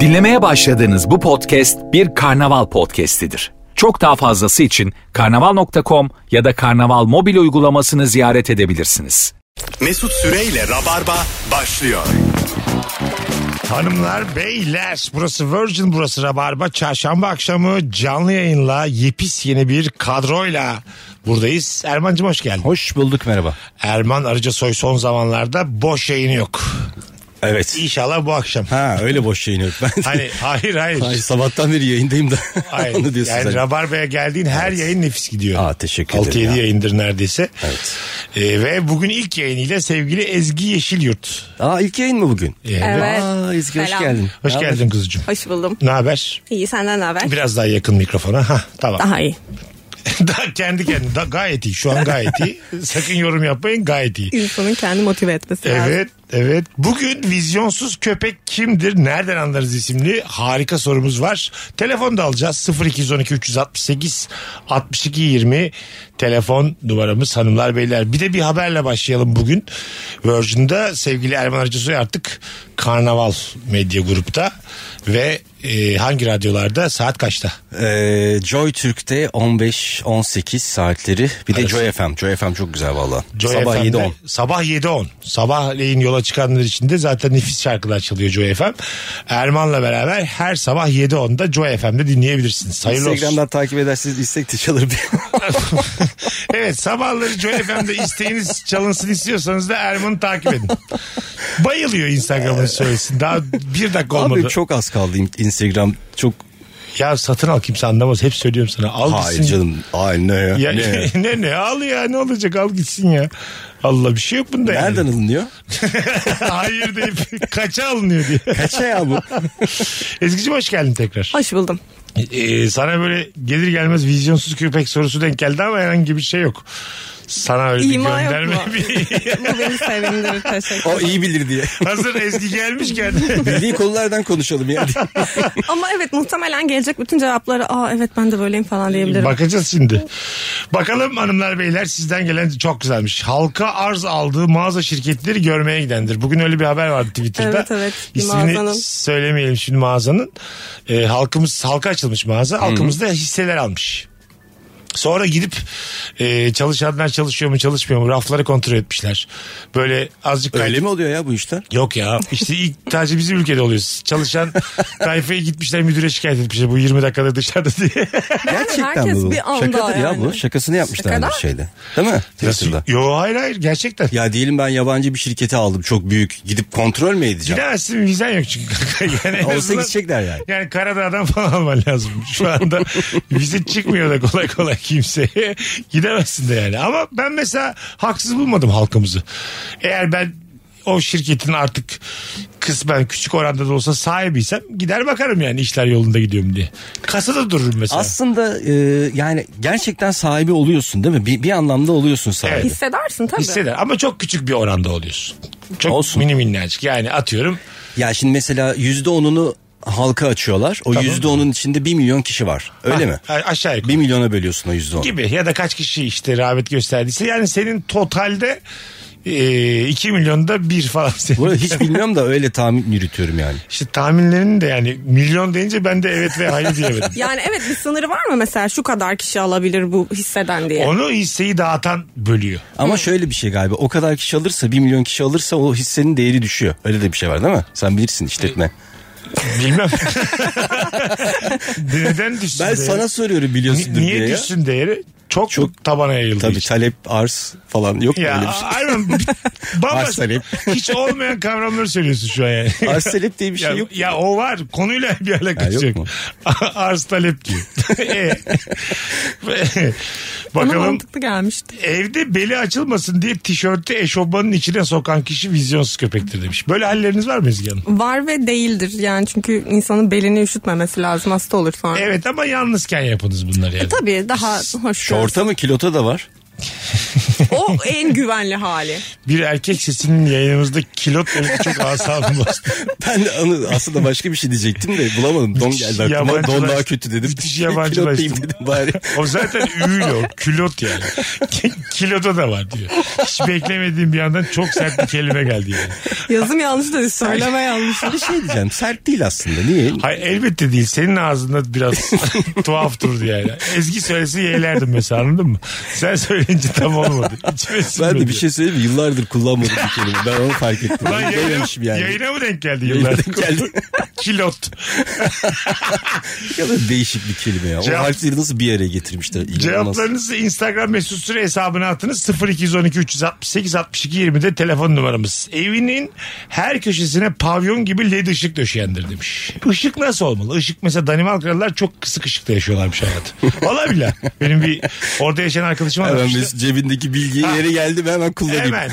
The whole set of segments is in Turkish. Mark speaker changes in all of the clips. Speaker 1: Dinlemeye başladığınız bu podcast bir karnaval podcastidir. Çok daha fazlası için karnaval.com ya da karnaval mobil uygulamasını ziyaret edebilirsiniz.
Speaker 2: Mesut Süreyle Rabarba başlıyor.
Speaker 3: Hanımlar, beyler burası Virgin burası Rabarba. Çarşamba akşamı canlı yayınla yepis yeni bir kadroyla buradayız. Erman'cığım hoş geldin.
Speaker 4: Hoş bulduk merhaba.
Speaker 3: Erman Arıca Soy son zamanlarda boş yayını yok.
Speaker 4: Evet.
Speaker 3: İnşallah bu akşam.
Speaker 4: Ha öyle boş yayın yok. Ben
Speaker 3: Hani hayır hayır.
Speaker 4: Ay, sabahtan beri yayındayım da.
Speaker 3: Hayır.
Speaker 4: Onu diyorsun
Speaker 3: yani
Speaker 4: sen.
Speaker 3: Rabarba'ya geldiğin her yayın nefis gidiyor.
Speaker 4: Aa, teşekkür ederim
Speaker 3: 6-7
Speaker 4: ya.
Speaker 3: yayındır neredeyse.
Speaker 4: Evet.
Speaker 3: Ee, ve bugün ilk yayınıyla sevgili Ezgi Yeşilyurt.
Speaker 4: Aa ilk yayın mı bugün?
Speaker 3: Ee,
Speaker 5: Evet.
Speaker 4: Aa Ezgi hoş
Speaker 5: Selam.
Speaker 4: geldin.
Speaker 3: Hoş
Speaker 4: Ne
Speaker 3: geldin kuzucuğum.
Speaker 5: Hoş buldum.
Speaker 3: Ne haber?
Speaker 5: İyi senden ne haber?
Speaker 3: Biraz daha yakın mikrofona. Ha tamam.
Speaker 5: Daha iyi.
Speaker 3: Daha kendi kendine. Da- gayet iyi. Şu an gayet iyi. Sakın yorum yapmayın. Gayet iyi.
Speaker 5: İnsanın kendi motive etmesi lazım.
Speaker 3: Evet, evet. Bugün vizyonsuz köpek kimdir? Nereden anlarız isimli harika sorumuz var. Telefon da alacağız. 0212 368 62 20 telefon numaramız hanımlar beyler. Bir de bir haberle başlayalım bugün. Virgin'da sevgili Erman Arıcısoy artık Karnaval Medya Grup'ta ve e, hangi radyolarda saat kaçta?
Speaker 4: Ee, Joy Türk'te 15-18 saatleri. Bir de
Speaker 3: Arası.
Speaker 4: Joy FM. Joy FM çok güzel valla.
Speaker 3: Joy
Speaker 4: Sabah
Speaker 3: FM'de
Speaker 4: 7-10.
Speaker 3: Sabah 7.10. Sabahleyin yola çıkanlar için de zaten nefis şarkılar çalıyor Joy FM. Erman'la beraber her sabah 7.10'da Joy FM'de dinleyebilirsiniz. Hayırlı olsun.
Speaker 4: Instagram'dan takip edersiniz istek de çalır diye.
Speaker 3: evet sabahları Joy FM'de isteğiniz çalınsın istiyorsanız da Erman'ı takip edin. Bayılıyor Instagram'ın söylesin. Daha bir dakika olmadı.
Speaker 4: Abi çok az kaldı Instagram. Çok
Speaker 3: Ya satın al kimse anlamaz. Hep söylüyorum sana. Al
Speaker 4: hayır
Speaker 3: gitsin.
Speaker 4: canım. Ay ne ya.
Speaker 3: Ya,
Speaker 4: ne?
Speaker 3: ne? ne al ya ne olacak al gitsin ya. Allah bir şey yok bunda yani.
Speaker 4: Nereden alınıyor?
Speaker 3: Hayır deyip kaça alınıyor diye.
Speaker 4: Kaça ya bu?
Speaker 3: Ezgi'cim hoş geldin tekrar.
Speaker 5: Hoş buldum.
Speaker 3: Ee, sana böyle gelir gelmez vizyonsuz köpek sorusu denk geldi ama herhangi bir şey yok. Sana öyle
Speaker 5: İma
Speaker 3: bir
Speaker 5: yok
Speaker 3: gönderme.
Speaker 5: mu? Bu beni sevindirir teşekkür
Speaker 4: O iyi bilir diye.
Speaker 3: Hazır Ezgi gelmiş geldi.
Speaker 4: Bildiği konulardan konuşalım yani.
Speaker 5: Ama evet muhtemelen gelecek bütün cevapları aa evet ben de böyleyim falan diyebilirim.
Speaker 3: Bakacağız şimdi. Bakalım hanımlar beyler sizden gelen çok güzelmiş. Halka arz aldığı mağaza şirketleri görmeye gidendir. Bugün öyle bir haber vardı Twitter'da.
Speaker 5: Evet, evet. Bir
Speaker 3: İsmini
Speaker 5: mağazanın.
Speaker 3: söylemeyelim şimdi mağazanın. Ee, halkımız halka açılmış mağaza. Halkımız da hisseler almış. Sonra gidip e, çalışanlar çalışıyor mu çalışmıyor mu rafları kontrol etmişler. Böyle azıcık
Speaker 4: Öyle mi oluyor ya bu işler?
Speaker 3: Yok ya işte ilk sadece bizim ülkede oluyor. Çalışan tayfaya gitmişler müdüre şikayet etmişler bu 20 dakikada dışarıda diye.
Speaker 4: Gerçekten
Speaker 5: herkes
Speaker 4: bu.
Speaker 5: bir anda
Speaker 4: Şakadır ya
Speaker 5: yani.
Speaker 4: bu. Şakasını yapmışlar
Speaker 5: Şakada?
Speaker 4: bir şeyde. Değil mi? Twitter'da.
Speaker 3: Yo hayır hayır gerçekten.
Speaker 4: Ya diyelim ben yabancı bir şirkete aldım çok büyük. Gidip kontrol mü edeceğim?
Speaker 3: Gidemezsin vizen yok çünkü. yani en
Speaker 4: Olsa
Speaker 3: azından-
Speaker 4: gidecekler yani.
Speaker 3: Yani Karadağ'dan falan alman lazım. Şu anda vize çıkmıyor da kolay kolay kimseye. Gidemezsin de yani. Ama ben mesela haksız bulmadım halkımızı. Eğer ben o şirketin artık kısmen küçük oranda da olsa sahibiysem gider bakarım yani işler yolunda gidiyor mu diye. Kasada dururum mesela.
Speaker 4: Aslında e, yani gerçekten sahibi oluyorsun değil mi? Bir, bir anlamda oluyorsun sahibi.
Speaker 3: Evet.
Speaker 5: Hissedersin tabii.
Speaker 3: Hisseder ama çok küçük bir oranda oluyorsun. Çok
Speaker 4: Olsun.
Speaker 3: mini minnacık yani atıyorum
Speaker 4: Ya şimdi mesela yüzde onunu halka açıyorlar. O
Speaker 3: Tamam.
Speaker 4: yüzde onun içinde bir milyon kişi var. Öyle
Speaker 3: Ha,
Speaker 4: mi?
Speaker 3: a- aşağı yukarı.
Speaker 4: Bir milyona bölüyorsun o yüzde onu.
Speaker 3: gibi ya da kaç kişi işte rağbet gösterdiyse yani senin totalde e, 2 milyonda bir falan
Speaker 4: Bu arada
Speaker 3: senin.
Speaker 4: hiç bilmiyorum da öyle tahmin yürütüyorum yani.
Speaker 3: İşte tahminlerin de yani milyon deyince ben de evet ve hayır diyemedim.
Speaker 5: Yani evet bir sınırı var mı mesela şu kadar kişi alabilir bu hisseden diye.
Speaker 3: Onu hisseyi dağıtan bölüyor.
Speaker 4: Ama şöyle bir şey galiba o kadar kişi alırsa bir milyon kişi alırsa o hissenin değeri düşüyor. Öyle de bir şey var değil mi? Sen bilirsin işletme.
Speaker 3: Bilmem. Neden düşsün
Speaker 4: Ben
Speaker 3: değeri?
Speaker 4: sana soruyorum
Speaker 3: Ni-
Speaker 4: biliyorsun diye.
Speaker 3: Niye
Speaker 4: ya.
Speaker 3: düşsün değeri? Çok,
Speaker 4: Çok-
Speaker 3: tabana yayıldı.
Speaker 4: Tabii
Speaker 3: işte.
Speaker 4: talep, arz falan yok mu
Speaker 3: Ya
Speaker 4: öyle bir şey?
Speaker 3: aynen.
Speaker 4: Arz
Speaker 3: Bamba,
Speaker 4: talep.
Speaker 3: hiç olmayan kavramları söylüyorsun şu an yani.
Speaker 4: Arz talep diye bir
Speaker 3: Ya,
Speaker 4: şey yok.
Speaker 3: ya o var. Konuyla bir alakası
Speaker 4: Ha, yok
Speaker 3: yok.
Speaker 4: mu?
Speaker 3: Arz talep diyor. E.
Speaker 5: Bana
Speaker 3: Bakalım
Speaker 5: mantıklı gelmişti.
Speaker 3: evde beli açılmasın diye tişörtü eşofmanın içine sokan kişi vizyonsuz köpektir demiş. Böyle halleriniz var mı Ezgi Hanım?
Speaker 5: Var ve değildir yani çünkü insanın belini üşütmemesi lazım hasta olur sonra. E,
Speaker 3: Evet ama yalnızken yapınız bunları yani.
Speaker 5: Tabii daha hoş.
Speaker 4: Şorta mı kilota da var.
Speaker 5: O en güvenli hali.
Speaker 3: Bir erkek sesinin yayınımızda kilot demesi çok asabım bastı.
Speaker 4: Ben de anı- aslında başka bir şey diyecektim de bulamadım. Don geldi aklıma.
Speaker 3: yabancılaş-
Speaker 4: Don daha kötü dedim.
Speaker 3: Müthiş
Speaker 4: Pilot
Speaker 3: yabancılaştım.
Speaker 4: diyeyim dedim bari.
Speaker 3: O zaten üyle o. Külot yani. Kiloda da var diyor. Hiç beklemediğim bir yandan çok sert bir kelime geldi yani.
Speaker 5: Yazım yanlış da söyleme yanlış.
Speaker 4: Bir şey diyeceğim. Sert değil aslında. Niye?
Speaker 3: Hayır elbette değil. Senin ağzında biraz tuhaf durdu yani. Ezgi söylese yeğlerdim mesela anladın mı? Sen söyleyince tam olmadı. İçime
Speaker 4: Ben de
Speaker 3: sinmedi.
Speaker 4: bir şey söyleyeyim mi? Yıllardır kullanmadığım bir kelime. Ben onu fark ettim.
Speaker 3: Lan yayına,
Speaker 4: Dememişim yani.
Speaker 3: yayına mı denk geldi
Speaker 4: Yayına
Speaker 3: yıllar?
Speaker 4: denk geldi.
Speaker 3: Kilot.
Speaker 4: Ne kadar değişik bir kelime ya.
Speaker 3: Cevap-
Speaker 4: o harfleri nasıl bir araya getirmişler? İnanılmaz.
Speaker 3: Cevaplarınızı Instagram mesut süre hesabına atınız. 0212 368 62 20'de telefon numaramız. Evinin her köşesine pavyon gibi led ışık döşeyendir demiş. Işık nasıl olmalı? Işık mesela Danimarkalılar çok kısık ışıkta yaşıyorlarmış hayatı. Valla bile. Benim bir orada yaşayan arkadaşım
Speaker 4: Hemen
Speaker 3: anlatmıştı.
Speaker 4: Mesut cebindeki bilgiyi yere geldi mi hemen kullanayım.
Speaker 3: Hemen.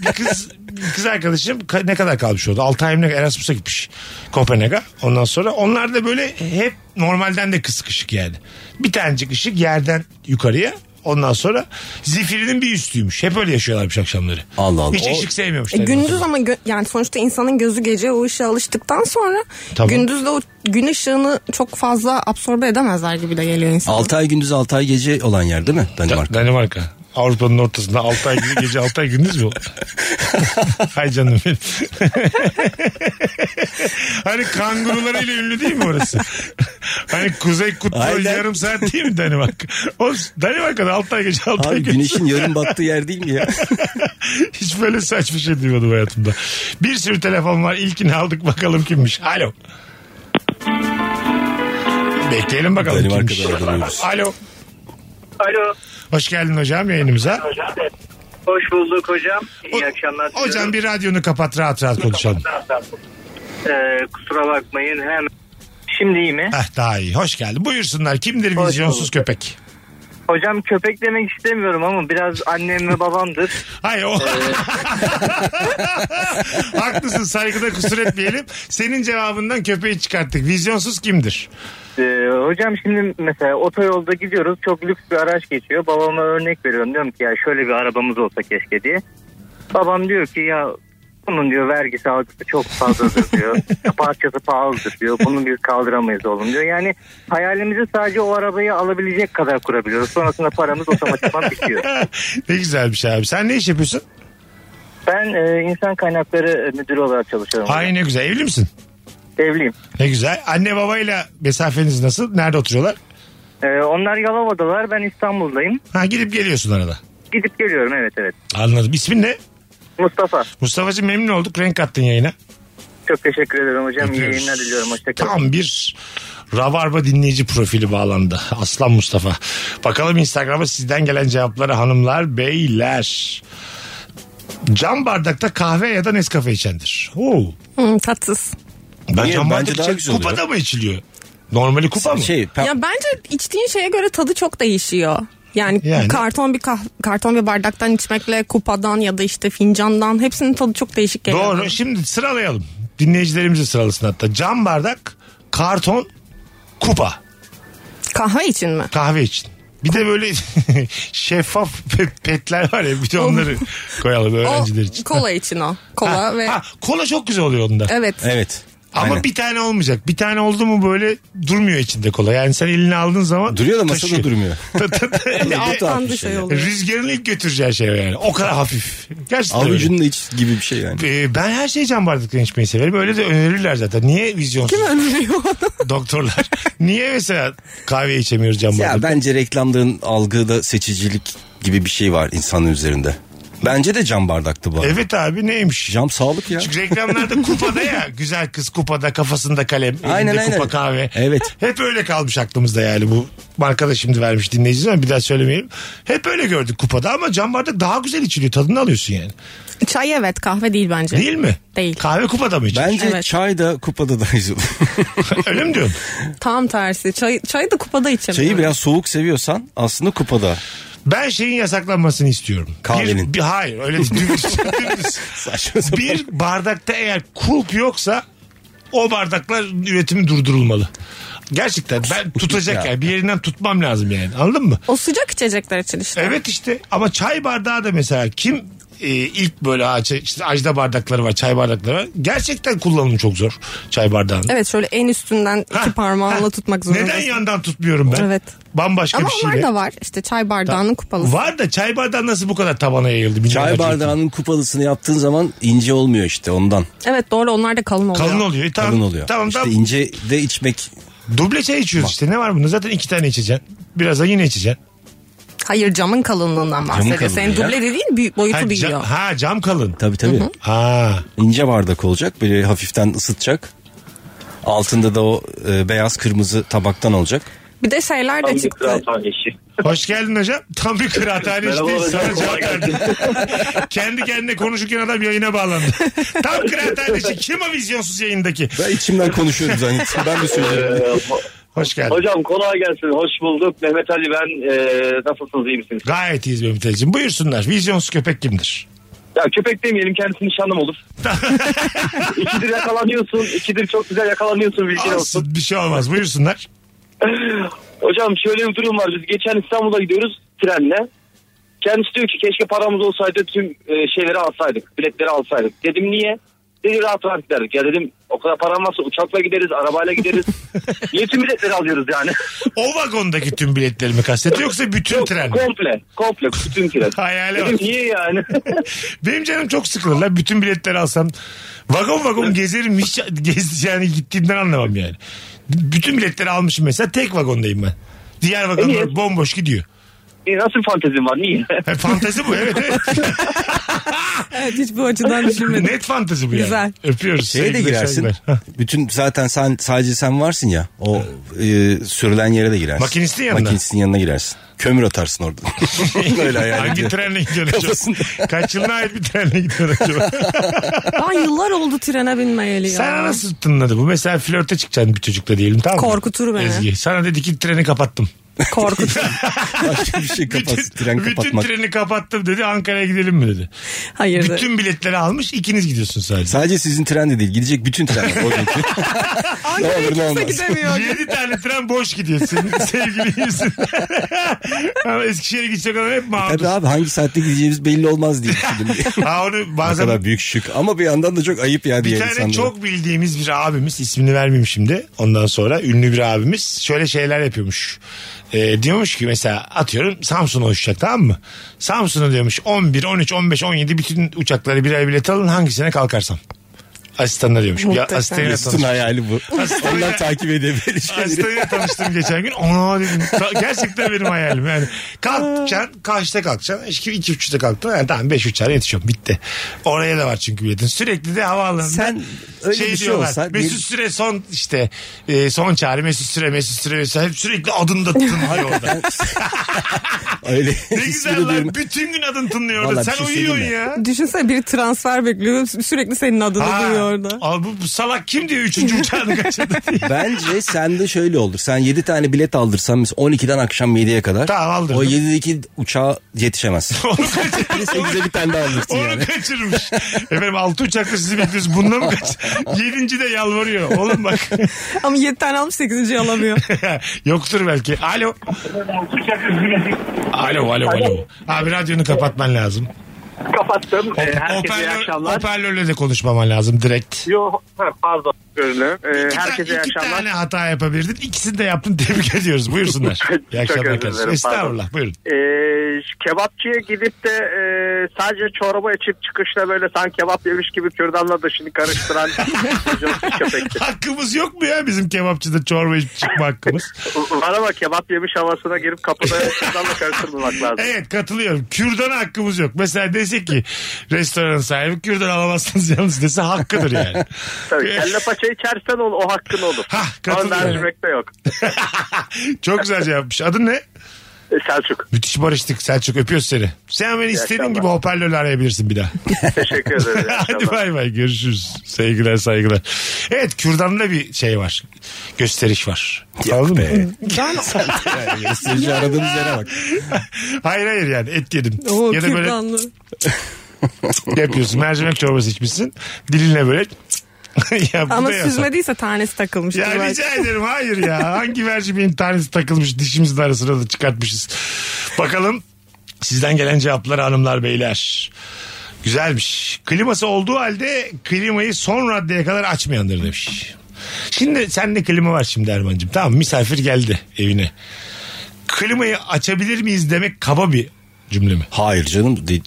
Speaker 3: bir kız bir kız arkadaşım ka- ne kadar kalmış orada? 6 ay mı ne- Erasmus'a gitmiş. Kopenhag'a. Ondan sonra onlar da böyle hep normalden de kısık ışık yani. Bir tanecik ışık yerden yukarıya. Ondan sonra zifirinin bir üstüymüş. Hep öyle yaşıyorlarmış akşamları.
Speaker 4: Allah Allah.
Speaker 3: Hiç
Speaker 4: O-
Speaker 3: ışık sevmiyormuşlar.
Speaker 5: E, gündüz ama gö- yani sonuçta insanın gözü gece o ışığa alıştıktan sonra
Speaker 3: Tamam.
Speaker 5: gündüz de o gün ışığını çok fazla absorbe edemezler gibi de geliyor insan.
Speaker 4: 6 ay gündüz 6 ay gece olan yer değil mi Danimarka?
Speaker 3: Danimarka. Avrupa'nın ortasında 6 ay gündüz gece 6 ay gündüz mü? Hay canım benim. hani kangurularıyla ünlü değil mi orası? Hani Kuzey Kutbu
Speaker 4: Aynen.
Speaker 3: yarım saat değil mi Danimarka? Oğlum Danimarka'da 6 ay gece 6 ay
Speaker 4: Abi
Speaker 3: gündüz.
Speaker 4: güneşin yarım battığı yer değil mi ya?
Speaker 3: Hiç böyle saçma şey duymadım hayatımda. Bir sürü telefon var. İlkini aldık bakalım kimmiş. Alo. Bekleyelim bakalım
Speaker 4: Danimarka'da
Speaker 3: kimmiş.
Speaker 4: aranıyoruz.
Speaker 3: Alo.
Speaker 6: Alo.
Speaker 3: Hoş geldin hocam yayınımıza.
Speaker 6: Hoş bulduk hocam. İyi
Speaker 3: O-
Speaker 6: akşamlar.
Speaker 3: Hocam bir radyonu kapat rahat rahat konuşalım.
Speaker 6: Ee, kusura bakmayın hem Şimdi iyi mi?
Speaker 3: Heh, Ah, daha iyi. Hoş geldin. Buyursunlar. Kimdir
Speaker 6: Hoş
Speaker 3: vizyonsuz
Speaker 6: bulduk.
Speaker 3: köpek?
Speaker 6: Hocam köpek demek istemiyorum ama biraz annem ve babamdır.
Speaker 3: Hayır o.
Speaker 6: Ee,
Speaker 3: Haklısın saygıda kusur etmeyelim. Senin cevabından köpeği çıkarttık. Vizyonsuz kimdir?
Speaker 6: Ee, hocam şimdi mesela otoyolda gidiyoruz çok lüks bir araç geçiyor. Babama örnek veriyorum diyorum ki ya şöyle bir arabamız olsa keşke diye. Babam diyor ki ya bunun diyor vergisi algısı çok fazladır diyor. Parçası pahalıdır diyor. Bunu biz kaldıramayız oğlum diyor. Yani hayalimizi sadece o arabayı alabilecek kadar kurabiliyoruz. Sonrasında paramız otomatikman bitiyor.
Speaker 3: ne güzel bir şey abi. Sen ne iş yapıyorsun?
Speaker 6: Ben e, insan kaynakları müdürü olarak çalışıyorum.
Speaker 3: Ay ne güzel. Evli misin?
Speaker 6: Evliyim.
Speaker 3: Ne güzel. Anne babayla mesafeniz nasıl? Nerede oturuyorlar?
Speaker 6: Ee, onlar Yalova'dalar ben İstanbul'dayım.
Speaker 3: Ha gidip geliyorsun arada.
Speaker 6: Gidip geliyorum evet evet.
Speaker 3: Anladım. İsmin ne?
Speaker 6: Mustafa
Speaker 3: Mustafa'cığım memnun olduk. Renk kattın yayına.
Speaker 6: çok teşekkür ederim hocam. İyi
Speaker 3: Öpüyoruz.
Speaker 6: yayınlar diliyorum. Hoşçakalın.
Speaker 3: Tam bir Rabarba dinleyici profili bağlandı. Aslan Mustafa. Bakalım Instagram'a sizden gelen cevapları hanımlar, beyler. Cam bardakta kahve ya da Nescafe içendir. Oo.
Speaker 5: Hı, tatsız.
Speaker 3: Ben
Speaker 4: Niye?
Speaker 3: cam
Speaker 4: Bence
Speaker 3: bardak
Speaker 4: daha
Speaker 3: içen-
Speaker 4: güzel oluyor.
Speaker 3: Kupada mı içiliyor? Normali kupa mı?
Speaker 4: Şey, pe-
Speaker 5: Ya bence içtiğin şeye göre tadı çok değişiyor. Yani,
Speaker 3: Yani.
Speaker 5: karton bir kah- karton bir bardaktan içmekle kupadan ya da işte fincandan hepsinin tadı çok değişik geliyor.
Speaker 3: Doğru. Şimdi sıralayalım. Dinleyicilerimizi sıralasın hatta. Cam bardak, karton, kupa.
Speaker 5: Kahve için mi?
Speaker 3: Kahve için. Bir de böyle şeffaf pe- petler var ya bir de onları koyalım öğrenciler için.
Speaker 5: O kola için o. Kola
Speaker 3: Ha,
Speaker 5: ve
Speaker 3: ha, kola çok güzel oluyor onda.
Speaker 5: evet.
Speaker 4: evet.
Speaker 3: Ama
Speaker 4: Aynen.
Speaker 3: bir tane olmayacak. Bir tane oldu mu böyle durmuyor içinde kola. Yani sen elini aldığın zaman
Speaker 4: Duruyor da masada durmuyor.
Speaker 3: Ta- ta- ta-
Speaker 4: Bu
Speaker 3: Yani
Speaker 4: tuhaf bir
Speaker 5: Tatlı
Speaker 4: şey.
Speaker 5: şey
Speaker 4: ya.
Speaker 5: oluyor.
Speaker 3: Rüzgarın ilk götüreceği şey o yani. O kadar hafif. Gerçekten öyle.
Speaker 4: Avucunun iç gibi bir şey yani.
Speaker 3: Ee, ben her şeyi cam bardakla içmeyi severim. Öyle de önerirler zaten. Niye vizyonsuz
Speaker 5: Kim öneriyor onu?
Speaker 3: doktorlar? Niye mesela kahve içemiyoruz cam
Speaker 4: Ya
Speaker 3: bardakla?
Speaker 4: bence reklamların algıda seçicilik gibi bir şey var insanın üzerinde. Bence de cam bardaktı bu. arada.
Speaker 3: Evet abi neymiş?
Speaker 4: Cam sağlık ya.
Speaker 3: Çünkü reklamlarda kupada ya. Güzel kız kupada kafasında kalem. Elinde
Speaker 4: Aynen,
Speaker 3: kupa
Speaker 4: aynen.
Speaker 3: kahve.
Speaker 4: Evet.
Speaker 3: Hep öyle kalmış aklımızda yani bu marka da şimdi vermiş dinleyeceğiz ama bir daha söylemeyelim. Hep öyle gördük kupada ama cam bardak daha güzel içiliyor tadını alıyorsun yani.
Speaker 5: Çay evet kahve değil bence.
Speaker 3: Değil mi?
Speaker 5: Değil.
Speaker 3: Kahve kupada mı içilir?
Speaker 4: Bence
Speaker 5: Evet.
Speaker 4: çay da kupada da güzel.
Speaker 3: öyle mi diyorsun?
Speaker 5: Tam tersi. Çay, çayı da kupada içelim.
Speaker 4: Çayı biraz soğuk seviyorsan aslında kupada.
Speaker 3: Ben şeyin yasaklanmasını istiyorum.
Speaker 4: Kahvenin.
Speaker 3: Bir, bir- hayır öyle değil. Dümdüz, dümdüz.
Speaker 4: Saçma sapan.
Speaker 3: bir bardakta eğer kulp yoksa o bardaklar üretimi durdurulmalı. Gerçekten ben tutacak yani. Bir yerinden tutmam lazım yani. Anladın mı?
Speaker 5: O sıcak içecekler için işte.
Speaker 3: Evet işte ama çay bardağı da mesela kim e, ilk böyle ha, çay- işte ajda bardakları var, çay bardakları var. Gerçekten kullanımı çok zor çay bardağının.
Speaker 5: Evet şöyle en üstünden iki
Speaker 3: Ha, ha.
Speaker 5: parmağınla tutmak zorundasın.
Speaker 3: Neden yandan tutmuyorum ben?
Speaker 5: Evet.
Speaker 3: Bambaşka
Speaker 5: Ama
Speaker 3: bir şeyle.
Speaker 5: onlar da var. İşte çay bardağının kupalısı.
Speaker 3: Var da çay bardağı nasıl bu kadar tabana yayıldı? bilmiyorum
Speaker 4: Çay
Speaker 3: gerçekten.
Speaker 4: bardağının kupalısını yaptığın zaman ince olmuyor işte ondan.
Speaker 5: Evet doğru onlar da kalın oluyor.
Speaker 3: Kalın oluyor. E, tamam,
Speaker 4: Kalın oluyor.
Speaker 3: Tamam
Speaker 4: işte
Speaker 3: tamam.
Speaker 4: ince de içmek
Speaker 3: Duble çay içiyoruz işte. Ne var bunda? Zaten iki tane içeceksin. Birazdan yine içeceksin.
Speaker 5: Hayır camın kalınlığından bahsediyor.
Speaker 4: kalınlığı
Speaker 5: Senin
Speaker 4: ya.
Speaker 5: duble dediğin büyük
Speaker 3: Ha,
Speaker 5: boyutu
Speaker 3: cam,
Speaker 5: büyüyor.
Speaker 3: ha cam kalın.
Speaker 4: tabii tabii.
Speaker 3: Ha.
Speaker 4: İnce bardak olacak böyle hafiften ısıtacak. Altında da o e, beyaz kırmızı tabaktan olacak.
Speaker 5: Bir de şeyler de çıktı.
Speaker 3: Hoş geldin hocam. Tam bir kıraathane işte. Sana cevap verdim. Kendi kendine konuşurken adam yayına bağlandı. Tam kıraathane işi. Kim o vizyonsuz yayındaki?
Speaker 4: Ben içimden konuşuyorum zannettim. Ben de söyleyeceğim.
Speaker 3: Hoş geldin.
Speaker 7: Ee, Hocam kolay gelsin. Hoş bulduk. Mehmet Ali ben. E, nasılsınız? iyi misiniz?
Speaker 3: Gayet iyiyiz Mehmet Ali'cim. Buyursunlar. Vizyonsuz köpek kimdir?
Speaker 7: Ya köpek demeyelim kendisi nişanlım olur. ikidir yakalanıyorsun. ikidir çok güzel yakalanıyorsun bilgin olsun.
Speaker 3: Olsun bir şey olmaz. Buyursunlar.
Speaker 7: Hocam şöyle bir durum var. Biz geçen İstanbul'a gidiyoruz trenle. Kendisi diyor ki keşke paramız olsaydı tüm e, şeyleri alsaydık. Biletleri alsaydık. Dedim niye? Dedi rahat rahat giderdik. Ya dedim o kadar param varsa uçakla gideriz, arabayla gideriz. niye tüm biletleri alıyoruz yani?
Speaker 3: O vagondaki tüm biletlerimi kastediyor yoksa bütün tren mi?
Speaker 7: komple, komple bütün tren.
Speaker 3: Hayale
Speaker 7: dedim
Speaker 3: bak.
Speaker 7: niye yani?
Speaker 3: Benim canım çok sıkılır lan. Bütün biletleri alsam vagon vagon gezerim hiç gez, yani gittiğimden anlamam yani. Bütün biletleri almışım mesela tek vagondayım ben. Diğer vagonlar
Speaker 7: niye?
Speaker 3: bomboş gidiyor.
Speaker 7: E, Nasıl bir fantezin var? Niye?
Speaker 3: Ha, fantezi bu evet evet.
Speaker 5: Evet hiç bu açıdan düşünmedim.
Speaker 3: Net fantezi bu yani.
Speaker 5: Güzel.
Speaker 3: Öpüyoruz.
Speaker 4: Şeye Şey de
Speaker 3: sevgiler,
Speaker 4: girersin.
Speaker 3: saygılar. Hah.
Speaker 4: Bütün zaten sen sadece sen varsın ya. O e, sürülen yere de girersin.
Speaker 3: Makinistin yanına.
Speaker 4: Makinistin yanına girersin. Kömür atarsın orada. Öyle hayal
Speaker 3: Hangi
Speaker 4: ediyorum.
Speaker 3: trenle gidiyorsun acaba?
Speaker 4: Kafasında.
Speaker 3: Kaç yılına ait bir trenle gidiyorsun acaba?
Speaker 5: Ben yıllar oldu trene binmeyeli ya.
Speaker 3: Sana nasıl tınladı bu? Mesela flörte çıkacaksın bir çocukla diyelim tamam mı?
Speaker 5: Korkutur beni.
Speaker 3: Ezgi. Sana dedi ki treni kapattım.
Speaker 5: Korkut.
Speaker 4: Başka bir şey kapat. tren
Speaker 3: bütün
Speaker 4: kapatmak.
Speaker 3: treni kapattım dedi Ankara'ya gidelim mi dedi.
Speaker 5: Hayır. de.
Speaker 3: Bütün biletleri almış ikiniz gidiyorsunuz sadece.
Speaker 4: Sadece sizin tren de değil. Gidecek bütün trenler. o günkü. ne olur ne olmaz.
Speaker 5: gidemiyor.
Speaker 3: 7 tane tren boş gidiyor senin sevgili yüzünden. Ama Eskişehir'e gidecek olan hep mağdur.
Speaker 4: Tabii abi hangi saatte gideceğimiz belli olmaz diye düşündüm.
Speaker 3: Ha onu
Speaker 4: ne
Speaker 3: bazen
Speaker 4: kadar büyük şık. Ama bir yandan da çok ayıp ya diye
Speaker 3: bir tane
Speaker 4: insanlara.
Speaker 3: çok bildiğimiz bir abimiz ismini vermeyeyim şimdi ondan sonra ünlü bir abimiz şöyle şeyler yapıyormuş. Ee, diyormuş ki mesela atıyorum Samsun'a uçacak tamam mı? Samsun'a diyormuş 11, 13, 15, 17 bütün uçakları birer bilet alın hangisine kalkarsam. Asistanlar diyormuş. Ya,
Speaker 5: Muhteşem.
Speaker 3: asistanıyla
Speaker 4: Mesut'un
Speaker 3: tanışmış.
Speaker 4: hayali bu.
Speaker 3: Aslında-
Speaker 4: Onlar takip edebilecekleri.
Speaker 3: Hastayla tanıştım geçen gün. Ona dedim. Ta- Gerçekten benim hayalim yani. Kalkacaksın. Kaçta kalkacaksın? İki, iki buçukta kalktın. Yani tamam beş buçukta yetişiyorum. Bitti. Oraya da var çünkü biletin. Sürekli de havaalanında.
Speaker 4: Sen öyle bir şey
Speaker 3: diyorlar,
Speaker 4: olsa-
Speaker 3: Mesut
Speaker 4: bir-
Speaker 3: Süre son işte e, son çağrı Mesut Süre Mesut Süre Mesut Süre. Hep sürekli adını da tınlıyor orada.
Speaker 4: Öyle.
Speaker 3: ne güzel lan.
Speaker 4: duyurma-
Speaker 3: Bütün gün adın tınlıyor
Speaker 4: Vallahi
Speaker 3: orada.
Speaker 4: bir
Speaker 3: Sen
Speaker 4: şey söyleyeyim
Speaker 3: uyuyorsun
Speaker 4: mi?
Speaker 3: ya.
Speaker 5: Düşünsene biri transfer bekliyor. Sürekli senin adını
Speaker 3: Ha,
Speaker 5: duyuyor orada.
Speaker 3: al bu, bu salak kim diyor üçüncü uçağını kaçırdı diye.
Speaker 4: Bence sende şöyle olur. Sen 7 tane bilet aldırsan mesela 12'den akşam 7'ye kadar.
Speaker 3: Tamam, aldırdım.
Speaker 4: O 7'deki uçağa yetişemezsin.
Speaker 3: Onu kaçırdı.
Speaker 4: 8'e bir tane daha alırsın
Speaker 3: Onu
Speaker 4: yani.
Speaker 3: kaçırmış. Efendim altı uçakta sizi bekliyoruz. Bunda mı kaç? Yedinci de yalvarıyor. Oğlum bak.
Speaker 5: Ama 7 tane almış 8. alamıyor.
Speaker 3: Yoktur belki. Alo. Alo alo alo. Abi radyonu kapatman lazım.
Speaker 7: Kapattım.
Speaker 6: Ee,
Speaker 7: E, herkese iyi
Speaker 3: Hoparlör-
Speaker 7: akşamlar.
Speaker 3: Hoparlörle de konuşmaman lazım direkt.
Speaker 7: Yo, ha, pardon. Görünüm. Ee,
Speaker 3: İki ta-
Speaker 7: herkese iyi
Speaker 3: iki
Speaker 7: akşamlar.
Speaker 3: tane hata yapabilirdin. İkisini de yaptın. Tebrik ediyoruz. Buyursunlar.
Speaker 7: Çok
Speaker 3: İyi akşamlar.
Speaker 7: özür
Speaker 3: kardeşim.
Speaker 7: dilerim,
Speaker 3: Estağfurullah. Buyurun.
Speaker 7: Ee, şu kebapçıya gidip de e, sadece çorba içip çıkışta böyle sanki kebap yemiş gibi kürdanla dışını karıştıran vizyonsuz köpekti.
Speaker 3: Hakkımız yok mu ya bizim kebapçıda çorba içip çıkma hakkımız?
Speaker 7: Var ama kebap yemiş havasına girip kapıda kürdanla karıştırmamak lazım.
Speaker 3: Evet katılıyorum. Kürdana hakkımız yok. Mesela dese ki restoranın sahibi kürdan alamazsınız yalnız dese hakkıdır yani.
Speaker 7: Tabii, kelle paça içersen o, o hakkın olur.
Speaker 3: Hah,
Speaker 7: ama
Speaker 3: katılıyorum.
Speaker 7: mercimekte yok.
Speaker 3: Çok güzel yapmış. Adın ne?
Speaker 7: E, Selçuk.
Speaker 3: Müthiş barıştık Selçuk öpüyoruz seni. Sen beni istediğin
Speaker 7: akşamlar.
Speaker 3: gibi hoparlörle arayabilirsin bir daha.
Speaker 7: Teşekkür ederim. İyi
Speaker 3: Hadi
Speaker 7: akşamlar.
Speaker 3: bay bay görüşürüz. Sevgiler saygılar. Evet kürdanda bir şey var. Gösteriş var. Anladın mı?
Speaker 4: Gösterici aradığımız yere bak.
Speaker 3: hayır hayır yani et yedim.
Speaker 5: Oo,
Speaker 3: ya da böyle şey
Speaker 5: kürdanlı.
Speaker 3: yapıyorsun mercimek çorbası içmişsin. Dilinle böyle ya bu
Speaker 5: Ama
Speaker 3: da yasak.
Speaker 5: süzmediyse tanesi takılmıştır
Speaker 3: Ya
Speaker 5: belki.
Speaker 3: rica ederim hayır ya. Hangi mercimeğin tanesi takılmış dişimizin arasına da çıkartmışız. Bakalım sizden gelen cevaplar hanımlar beyler. Güzelmiş. Kliması olduğu halde klimayı son raddeye kadar açmayandır demiş. Şimdi sende klima var şimdi Erman'cığım. Tamam misafir geldi evine. Klimayı açabilir miyiz demek kaba bir cümle mi?
Speaker 4: Hayır canım değil.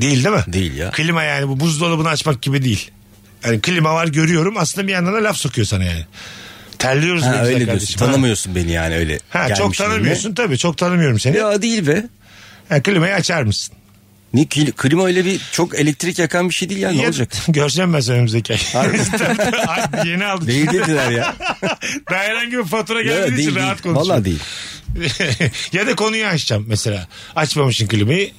Speaker 3: Değil değil mi?
Speaker 4: Değil ya.
Speaker 3: Klima yani bu buzdolabını açmak gibi değil. Yani klima var görüyorum aslında bir yandan da laf sokuyor sana yani. Terliyoruz
Speaker 4: Ha,
Speaker 3: ne güzel
Speaker 4: öyle diyorsun.
Speaker 3: kardeşim. Ha.
Speaker 4: Tanımıyorsun beni yani öyle.
Speaker 3: Ha, çok
Speaker 4: gelmişlerine.
Speaker 3: tanımıyorsun tabii çok tanımıyorum seni.
Speaker 4: Ya değil be.
Speaker 3: Ha, klimayı açar mısın?
Speaker 4: Ni kil- klima öyle bir çok elektrik yakan bir şey değil yani ne
Speaker 3: Ya-
Speaker 4: olacak?
Speaker 3: Göreceğim ben seni önümüzdeki ay. Tabii, tabii. Ay, Yeni aldık.
Speaker 4: Değil dediler ya.
Speaker 3: Daha herhangi bir fatura
Speaker 4: Ya,
Speaker 3: geldiği için
Speaker 4: değil,
Speaker 3: rahat
Speaker 4: değil.
Speaker 3: konuşuyorum.
Speaker 4: Vallahi değil.
Speaker 3: ya da konuyu açacağım mesela. Açmamışsın klimayı.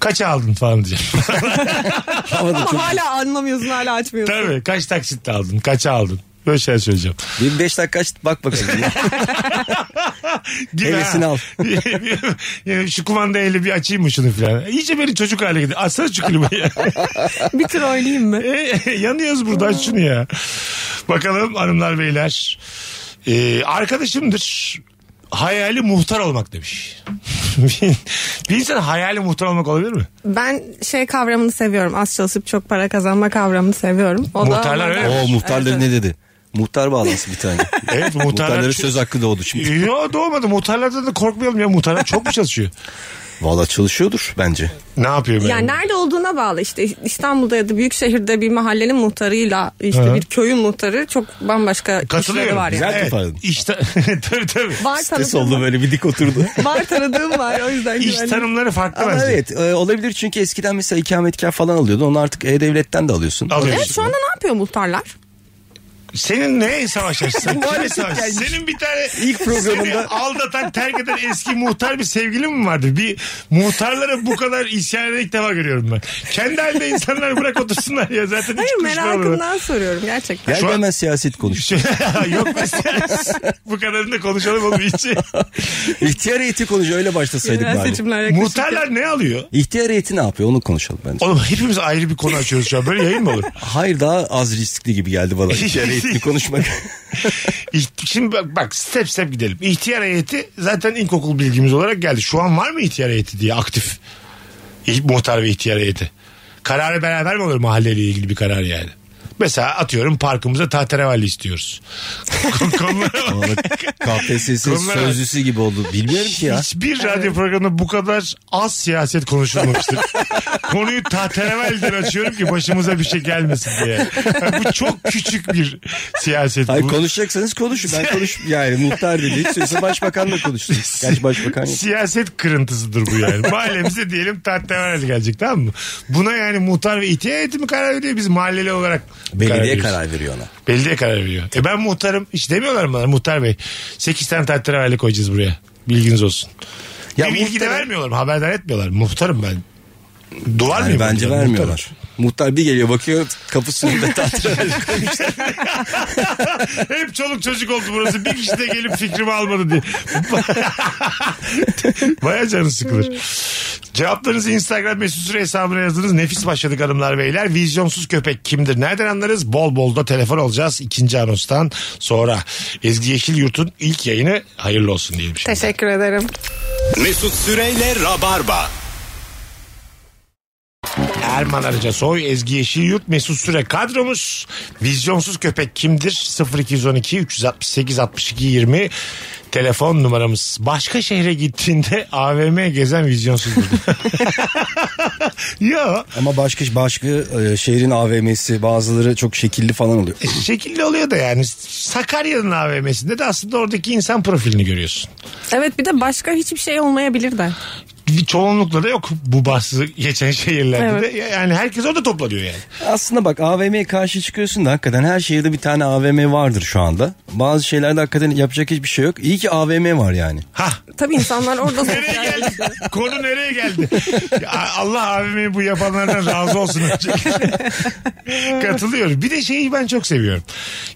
Speaker 3: Kaça aldın falan diyeceğim.
Speaker 4: Ama da çok
Speaker 5: Ama hala anlamıyorsun hala açmıyorsun.
Speaker 3: tabii kaç taksitle aldın kaça aldın. Böyle şeyler söyleyeceğim.
Speaker 4: bir beş dakika aç bak bakalım. ya.
Speaker 3: Gibi
Speaker 4: Hevesini
Speaker 3: ha.
Speaker 4: al.
Speaker 3: Yani şu kumanda eli bir açayım mı şunu filan. İyice beni çocuk hale getir. Açsana şu klimayı.
Speaker 5: Bir tür oynayayım mı?
Speaker 3: E, yanıyoruz burada aç şunu ya. Bakalım hanımlar beyler. Ee, arkadaşımdır. Hayali muhtar olmak demiş. bir bir insan hayali muhtar olmak olabilir mi?
Speaker 5: Ben şey kavramını seviyorum. Az çalışıp çok para kazanma kavramını seviyorum. O
Speaker 3: Muhtarlar
Speaker 5: da
Speaker 3: öyle mi?
Speaker 4: Oo muhtarları
Speaker 5: Evet,
Speaker 4: ne dedi? Muhtar bağlansın bir tane.
Speaker 3: Evet muhtarlar.
Speaker 4: Muhtarlara söz hakkı doğdu şimdi.
Speaker 3: Yo doğmadı. Muhtarlardan da korkmayalım ya. Muhtarlar çok mu çalışıyor?
Speaker 4: Valla çalışıyordur bence.
Speaker 3: ne yapıyor böyle?
Speaker 5: Yani nerede olduğuna bağlı işte İstanbul'da ya da büyük şehirde bir mahallenin muhtarıyla işte bir köyün muhtarı çok bambaşka işleri
Speaker 3: Katılıyorum.
Speaker 5: var yani.
Speaker 4: Güzel
Speaker 3: Evet,
Speaker 4: toparladın.
Speaker 3: İşte tabii tabii.
Speaker 5: Var
Speaker 4: Stres
Speaker 5: tanıdığım,
Speaker 4: oldu böyle bir dik oturdu.
Speaker 5: var tanıdığım var o yüzden
Speaker 3: İş
Speaker 5: güvenli.
Speaker 3: tanımları farklı
Speaker 4: Ama
Speaker 3: bence.
Speaker 4: evet e, olabilir çünkü eskiden mesela ikametgah falan alıyordun. Onu artık E-Devlet'ten de alıyorsun.
Speaker 3: Alıyorsun.
Speaker 5: Evet şu anda ne yapıyor muhtarlar?
Speaker 3: Senin ne savaş açısın? Kimle savaş? Senin bir tane
Speaker 4: İlk programında-
Speaker 3: seni aldatan terk eden eski muhtar bir sevgilin mi vardı? Bir muhtarlara bu kadar isyan eden ilk defa görüyorum ben. Kendi halinde insanlar bırak otursunlar ya zaten hiç
Speaker 5: Hayır
Speaker 3: konuşmuyorlar.
Speaker 5: merakımdan soruyorum gerçekten.
Speaker 4: Gel
Speaker 3: Şu an-
Speaker 4: hemen siyaset konuş.
Speaker 3: Şey, Yok mesela bu kadarını da konuşalım oğlum hiç.
Speaker 4: İhtiyar heyeti konuş öyle başlasaydık
Speaker 5: Yerel
Speaker 4: bari.
Speaker 5: seçimler yaklaşık.
Speaker 3: Muhtarlar ne alıyor?
Speaker 4: İhtiyar heyeti ne yapıyor onu konuşalım bence.
Speaker 3: Oğlum hepimiz ayrı bir konu açıyoruz şu an. Böyle yayın mı olur?
Speaker 4: Hayır daha az riskli gibi geldi bana ihtiyar heyetini konuşmak.
Speaker 3: İht- Şimdi bak, bak step step gidelim. İhtiyar heyeti zaten ilkokul bilgimiz olarak geldi. Şu an var mı ihtiyar heyeti diye aktif? İ- Muhtar ve ihtiyar heyeti. Kararı beraber mi olur mahalleyle ilgili bir karar yani? Mesela atıyorum parkımıza tahterevalli istiyoruz. Kon- Konulara bak.
Speaker 4: KPSS
Speaker 3: Konulara-
Speaker 4: sözlüsü gibi oldu. Bilmiyorum ki ya.
Speaker 3: Hiçbir radyo programında bu kadar az siyaset konuşulmamıştır. Konuyu tahterevallidir açıyorum ki başımıza bir şey gelmesin diye. Yani bu çok küçük bir siyaset.
Speaker 4: Hayır
Speaker 3: bu.
Speaker 4: konuşacaksanız konuşun. Ben konuş yani muhtar dedi. Hiç başbakanla konuştum. Gerçi başbakan yok.
Speaker 3: Siyaset kırıntısıdır bu yani. Mahallemize diyelim tahterevalli gelecek tamam mı? Buna yani muhtar ve itiye heyeti mi karar veriyor? Biz mahalleli olarak mı
Speaker 4: Belediye
Speaker 3: veriyoruz?
Speaker 4: karar veriyor ona.
Speaker 3: Belediye karar veriyor. E ben muhtarım. Hiç demiyorlar mı bana muhtar bey? 8 tane tahterevalli koyacağız buraya. Bilginiz olsun.
Speaker 4: Ya
Speaker 3: bir bilgi de
Speaker 4: muhtara-
Speaker 3: vermiyorlar mı? Haberdar etmiyorlar mı? Muhtarım ben. Duvar
Speaker 4: Yani
Speaker 3: mıyım?
Speaker 4: bence
Speaker 3: muhtarım?
Speaker 4: vermiyorlar. Muhtar bir geliyor bakıyor kapısını da tatil.
Speaker 3: Muhtarım. Hep çoluk çocuk oldu burası. Bir kişi de gelip fikrimi almadı diye. Baya canı sıkılır. Cevaplarınızı Instagram mesut süre hesabına yazınız. Nefis başladık hanımlar beyler. Vizyonsuz köpek kimdir? Nereden anlarız? Bol bol da telefon olacağız. ikinci anonstan sonra. Ezgi Yeşilyurt'un ilk yayını hayırlı olsun diyelim şimdi.
Speaker 5: Teşekkür ederim.
Speaker 2: Mesut Süreyle Rabarba.
Speaker 3: Erman Arıca Soy, Ezgi Yeşilyurt, Mesut Süre kadromuz. Vizyonsuz köpek kimdir? 0212 368 62 20 telefon numaramız. Başka şehre gittiğinde AVM gezen vizyonsuz. Yo
Speaker 4: Ama başka başka e, şehrin AVM'si bazıları çok şekilli falan oluyor.
Speaker 3: şekilli oluyor da yani Sakarya'nın AVM'sinde de aslında oradaki insan profilini görüyorsun.
Speaker 5: Evet bir de başka hiçbir şey olmayabilir de.
Speaker 3: Çoğunlukla da yok bu bahsi geçen şehirlerde
Speaker 5: Evet.
Speaker 3: de. Yani herkes orada toplanıyor yani.
Speaker 4: Aslında bak AVM'ye karşı çıkıyorsun da hakikaten her şehirde bir tane AVM vardır şu anda. Bazı şeylerde hakikaten yapacak hiçbir şey yok. İyi ki AVM var yani.
Speaker 3: Hah
Speaker 5: Tabii insanlar orada
Speaker 3: Nereye geldi? Konu nereye geldi? Ya Allah abimi bu yapanlardan razı olsun. önce. Katılıyorum. Bir de şeyi ben çok seviyorum.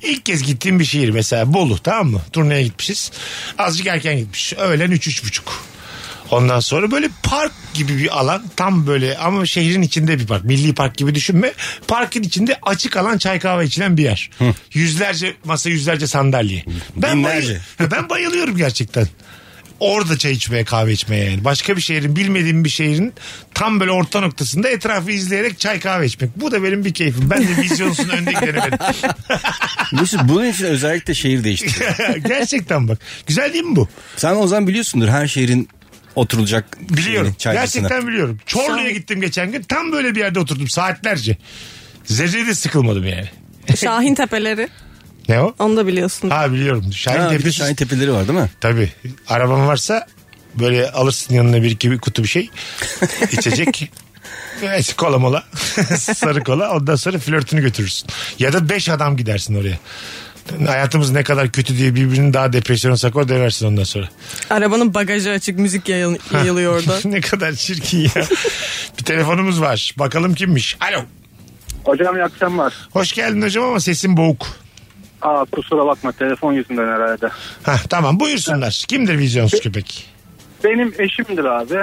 Speaker 3: İlk kez gittiğim bir şehir mesela Bolu tamam mı? Turneye gitmişiz. Azıcık erken gitmiş. Öğlen 3 üç, üç buçuk. Ondan sonra böyle park gibi bir alan tam böyle ama şehrin içinde bir park. Milli park gibi düşünme. Parkın içinde açık alan çay kahve içilen bir yer. yüzlerce masa yüzlerce sandalye. Ben, bayıl-
Speaker 4: Binlerce.
Speaker 3: ben bayılıyorum gerçekten. Orada çay içmeye kahve içmeye yani. Başka bir şehrin bilmediğim bir şehrin tam böyle orta noktasında etrafı izleyerek çay kahve içmek. Bu da benim bir keyfim. Ben de vizyonsun önde gideni benim.
Speaker 4: Mesut bunun için özellikle şehir değiştir.
Speaker 3: Gerçekten bak. Güzel değil mi bu?
Speaker 4: Sen o zaman biliyorsundur her şehrin oturulacak
Speaker 3: Biliyorum.
Speaker 4: şeyini, çaycısını.
Speaker 3: Gerçekten biliyorum. Çorlu'ya gittim geçen gün. Tam böyle bir yerde oturdum saatlerce. Zerre de sıkılmadım yani.
Speaker 5: Şahin tepeleri.
Speaker 3: Ne o?
Speaker 5: Onu da biliyorsun.
Speaker 3: Ha biliyorum. Şahin
Speaker 4: Ha, bir de
Speaker 3: Tepesi-
Speaker 4: Şahin tepeleri var değil mi?
Speaker 3: Tabii. Araban varsa böyle alırsın yanına bir iki bir kutu bir şey. içecek. Evet, kola mola. Sarı kola. Ondan sonra flörtünü götürürsün. Ya da beş adam gidersin oraya. Hayatımız ne kadar kötü diye birbirini daha depresyona sakor dönersin ondan sonra.
Speaker 5: Arabanın bagajı açık müzik yayıl- yayılıyor orada.
Speaker 3: ne kadar çirkin ya. bir telefonumuz var. Bakalım kimmiş. Alo.
Speaker 6: Hocam iyi akşamlar.
Speaker 3: Hoş geldin hocam ama sesin boğuk.
Speaker 6: Aa kusura bakma telefon yüzünden herhalde.
Speaker 3: Hah, tamam buyursunlar. Kimdir vizyonsuz köpek?
Speaker 6: Benim eşimdir abi.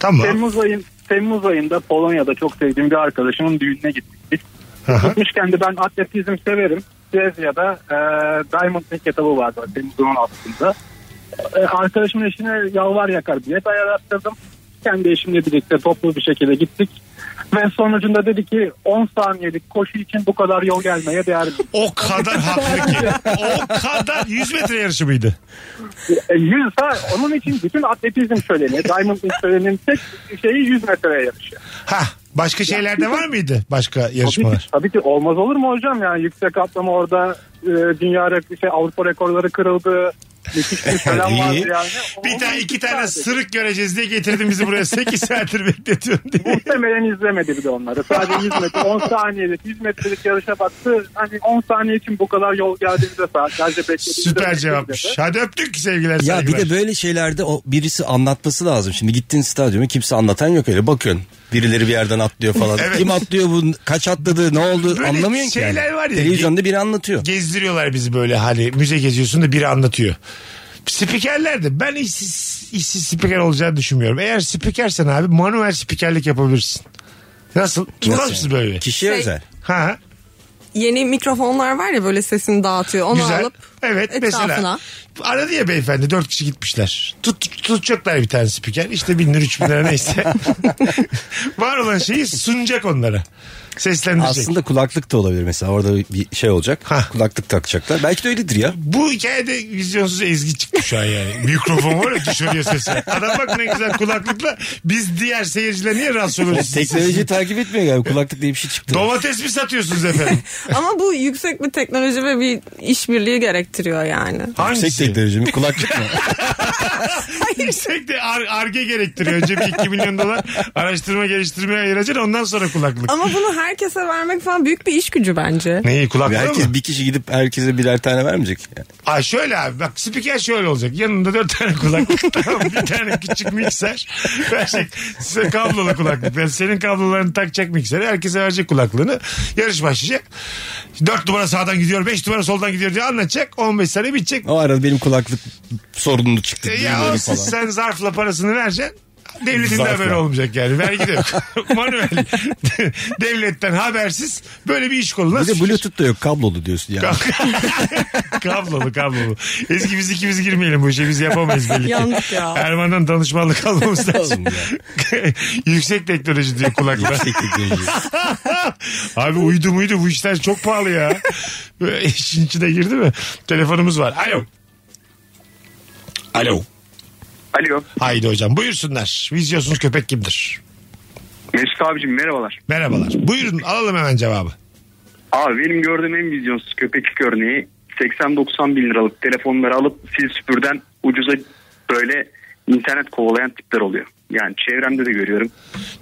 Speaker 3: Tamam.
Speaker 6: Temmuz ayın Temmuz ayında Polonya'da çok sevdiğim bir arkadaşımın düğününe gittik. Biz
Speaker 3: Aha.
Speaker 6: tutmuşken de ben atletizm severim. Brezilya'da e, Diamond League etabı vardı Temmuz'un altında. E, arkadaşımın eşine yalvar yakar bilet ayarlattırdım. Kendi eşimle birlikte toplu bir şekilde gittik. Ve sonucunda dedi ki 10 saniyelik koşu için bu kadar yol gelmeye değer mi?
Speaker 3: O kadar haklı ki. O kadar 100 metre yarışı mıydı?
Speaker 6: E, 100 ha, onun için bütün atletizm şöleni, Diamond League şöleninin tek şeyi 100 metreye yarışı.
Speaker 3: Ha, başka şeylerde var mıydı? Başka
Speaker 6: Tabii
Speaker 3: yarışmalar.
Speaker 6: ki, tabii ki olmaz olur mu hocam yani yüksek atlama orada e, dünya re- şey, Avrupa rekorları kırıldı. Müthiş bir şölen
Speaker 4: İyi.
Speaker 6: vardı yani.
Speaker 3: Bir
Speaker 6: Onu
Speaker 3: tane iki tane
Speaker 6: izlerdik.
Speaker 3: sırık göreceğiz diye getirdin bizi buraya. 8 saattir bekletiyorum diye.
Speaker 6: Muhtemelen izlemedi bir de onları. Sadece 100 metre, 10 saniyelik, 100 metrelik yarışa baktı. Hani 10 saniye için bu kadar yol geldiğini de saatlerce bekledi.
Speaker 3: Süper cevapmış. Hadi öptük sevgiler
Speaker 4: Ya bir
Speaker 3: saygılar.
Speaker 4: de böyle şeylerde o birisi anlatması lazım. Şimdi gittin stadyuma kimse anlatan yok öyle bakıyorsun. Birileri bir yerden atlıyor falan.
Speaker 3: Evet.
Speaker 4: Kim atlıyor bu kaç atladı ne oldu
Speaker 3: Böyle
Speaker 4: anlamıyorsun ki.
Speaker 3: şeyler var ya.
Speaker 4: Televizyonda biri anlatıyor.
Speaker 3: Gezdiriyorlar bizi böyle hani müze geziyorsun da biri anlatıyor. Spikerler de ben işsiz, işsiz spiker olacağını düşünmüyorum. Eğer spikersen abi manuel spikerlik yapabilirsin. Nasıl? Tutmaz
Speaker 4: Nasıl
Speaker 3: mısın
Speaker 4: yani?
Speaker 3: böyle?
Speaker 4: Kişiye
Speaker 5: Şey-
Speaker 4: özel.
Speaker 3: Ha,
Speaker 5: Yeni mikrofonlar var ya böyle sesini dağıtıyor. Onu
Speaker 3: güzel.
Speaker 5: alıp
Speaker 3: evet mesela.
Speaker 5: etrafına.
Speaker 3: Aradı ya beyefendi dört kişi gitmişler. Tut, tut- tutacaklar bir tane spiker. İşte bin lira üç bin lira neyse. Var olan şeyi sunacak onlara. Seslendirecek.
Speaker 4: Aslında kulaklık da olabilir mesela orada bir şey olacak.
Speaker 3: Hah.
Speaker 4: Kulaklık takacaklar. Belki de öyledir ya.
Speaker 3: Bu hikayede vizyonsuz Ezgi çıktı şu an yani. Mikrofon var ya dışarıya sesi. Adam bak ne güzel kulaklıkla biz diğer seyirciler niye rahatsız oluyoruz?
Speaker 4: Teknoloji takip etmiyor galiba. Kulaklık diye bir şey çıktı.
Speaker 3: Domates mi satıyorsunuz efendim?
Speaker 5: Ama bu yüksek bir teknoloji ve bir işbirliği gerektiriyor yani.
Speaker 3: Hangisi?
Speaker 4: Yüksek teknoloji mi? Kulaklık mı?
Speaker 3: Yüksek de ar- arge gerektiriyor. Önce bir 2 milyon dolar araştırma geliştirmeye ayıracaksın ondan sonra kulaklık.
Speaker 5: Ama bunu herkese vermek falan büyük bir iş gücü bence.
Speaker 3: Neyi kulaklığı
Speaker 4: Herkes
Speaker 3: mı?
Speaker 4: bir kişi gidip herkese birer tane vermeyecek. Yani.
Speaker 3: Aa şöyle abi bak spiker şöyle olacak. Yanında dört tane kulaklık tamam bir tane küçük mikser. Verecek size kablolu kulaklık. Yani senin kablolarını takacak mikseri. Herkese verecek kulaklığını. Yarış başlayacak. Dört numara sağdan gidiyor. Beş numara soldan gidiyor diye anlatacak. 15 sene bitecek.
Speaker 4: O arada benim kulaklık sorununu çıktı.
Speaker 3: E,
Speaker 4: duyuyorum
Speaker 3: ya o
Speaker 4: falan.
Speaker 3: sen zarfla parasını vereceksin. Devletin de
Speaker 4: Zarfla.
Speaker 3: haberi olmayacak yani. Vergi de yok. Manuel. Devletten habersiz böyle bir iş kolu.
Speaker 4: Bir
Speaker 3: Nasıl
Speaker 4: de
Speaker 3: fikir?
Speaker 4: Bluetooth da yok kablolu diyorsun yani.
Speaker 3: kablolu kablolu. Ezgi biz ikimiz girmeyelim bu işe biz yapamayız belli ki.
Speaker 5: Yandık ya.
Speaker 3: Erman'dan danışmanlık almamız lazım.
Speaker 4: Oğlum ya.
Speaker 3: Yüksek teknoloji diyor kulaklar.
Speaker 4: Yüksek teknoloji.
Speaker 3: Abi uydu muydu bu işler çok pahalı ya. Böyle işin içine girdi mi? Telefonumuz var. Alo. Alo.
Speaker 8: Alo.
Speaker 3: Haydi hocam buyursunlar. Vizyonsuz köpek kimdir?
Speaker 8: Mesut abicim merhabalar.
Speaker 3: Merhabalar. Buyurun alalım hemen cevabı.
Speaker 8: Abi benim gördüğüm en vizyonsuz köpeklik örneği 80-90 bin liralık telefonları alıp sil süpürden ucuza böyle internet kovalayan tipler oluyor. Yani çevremde de görüyorum.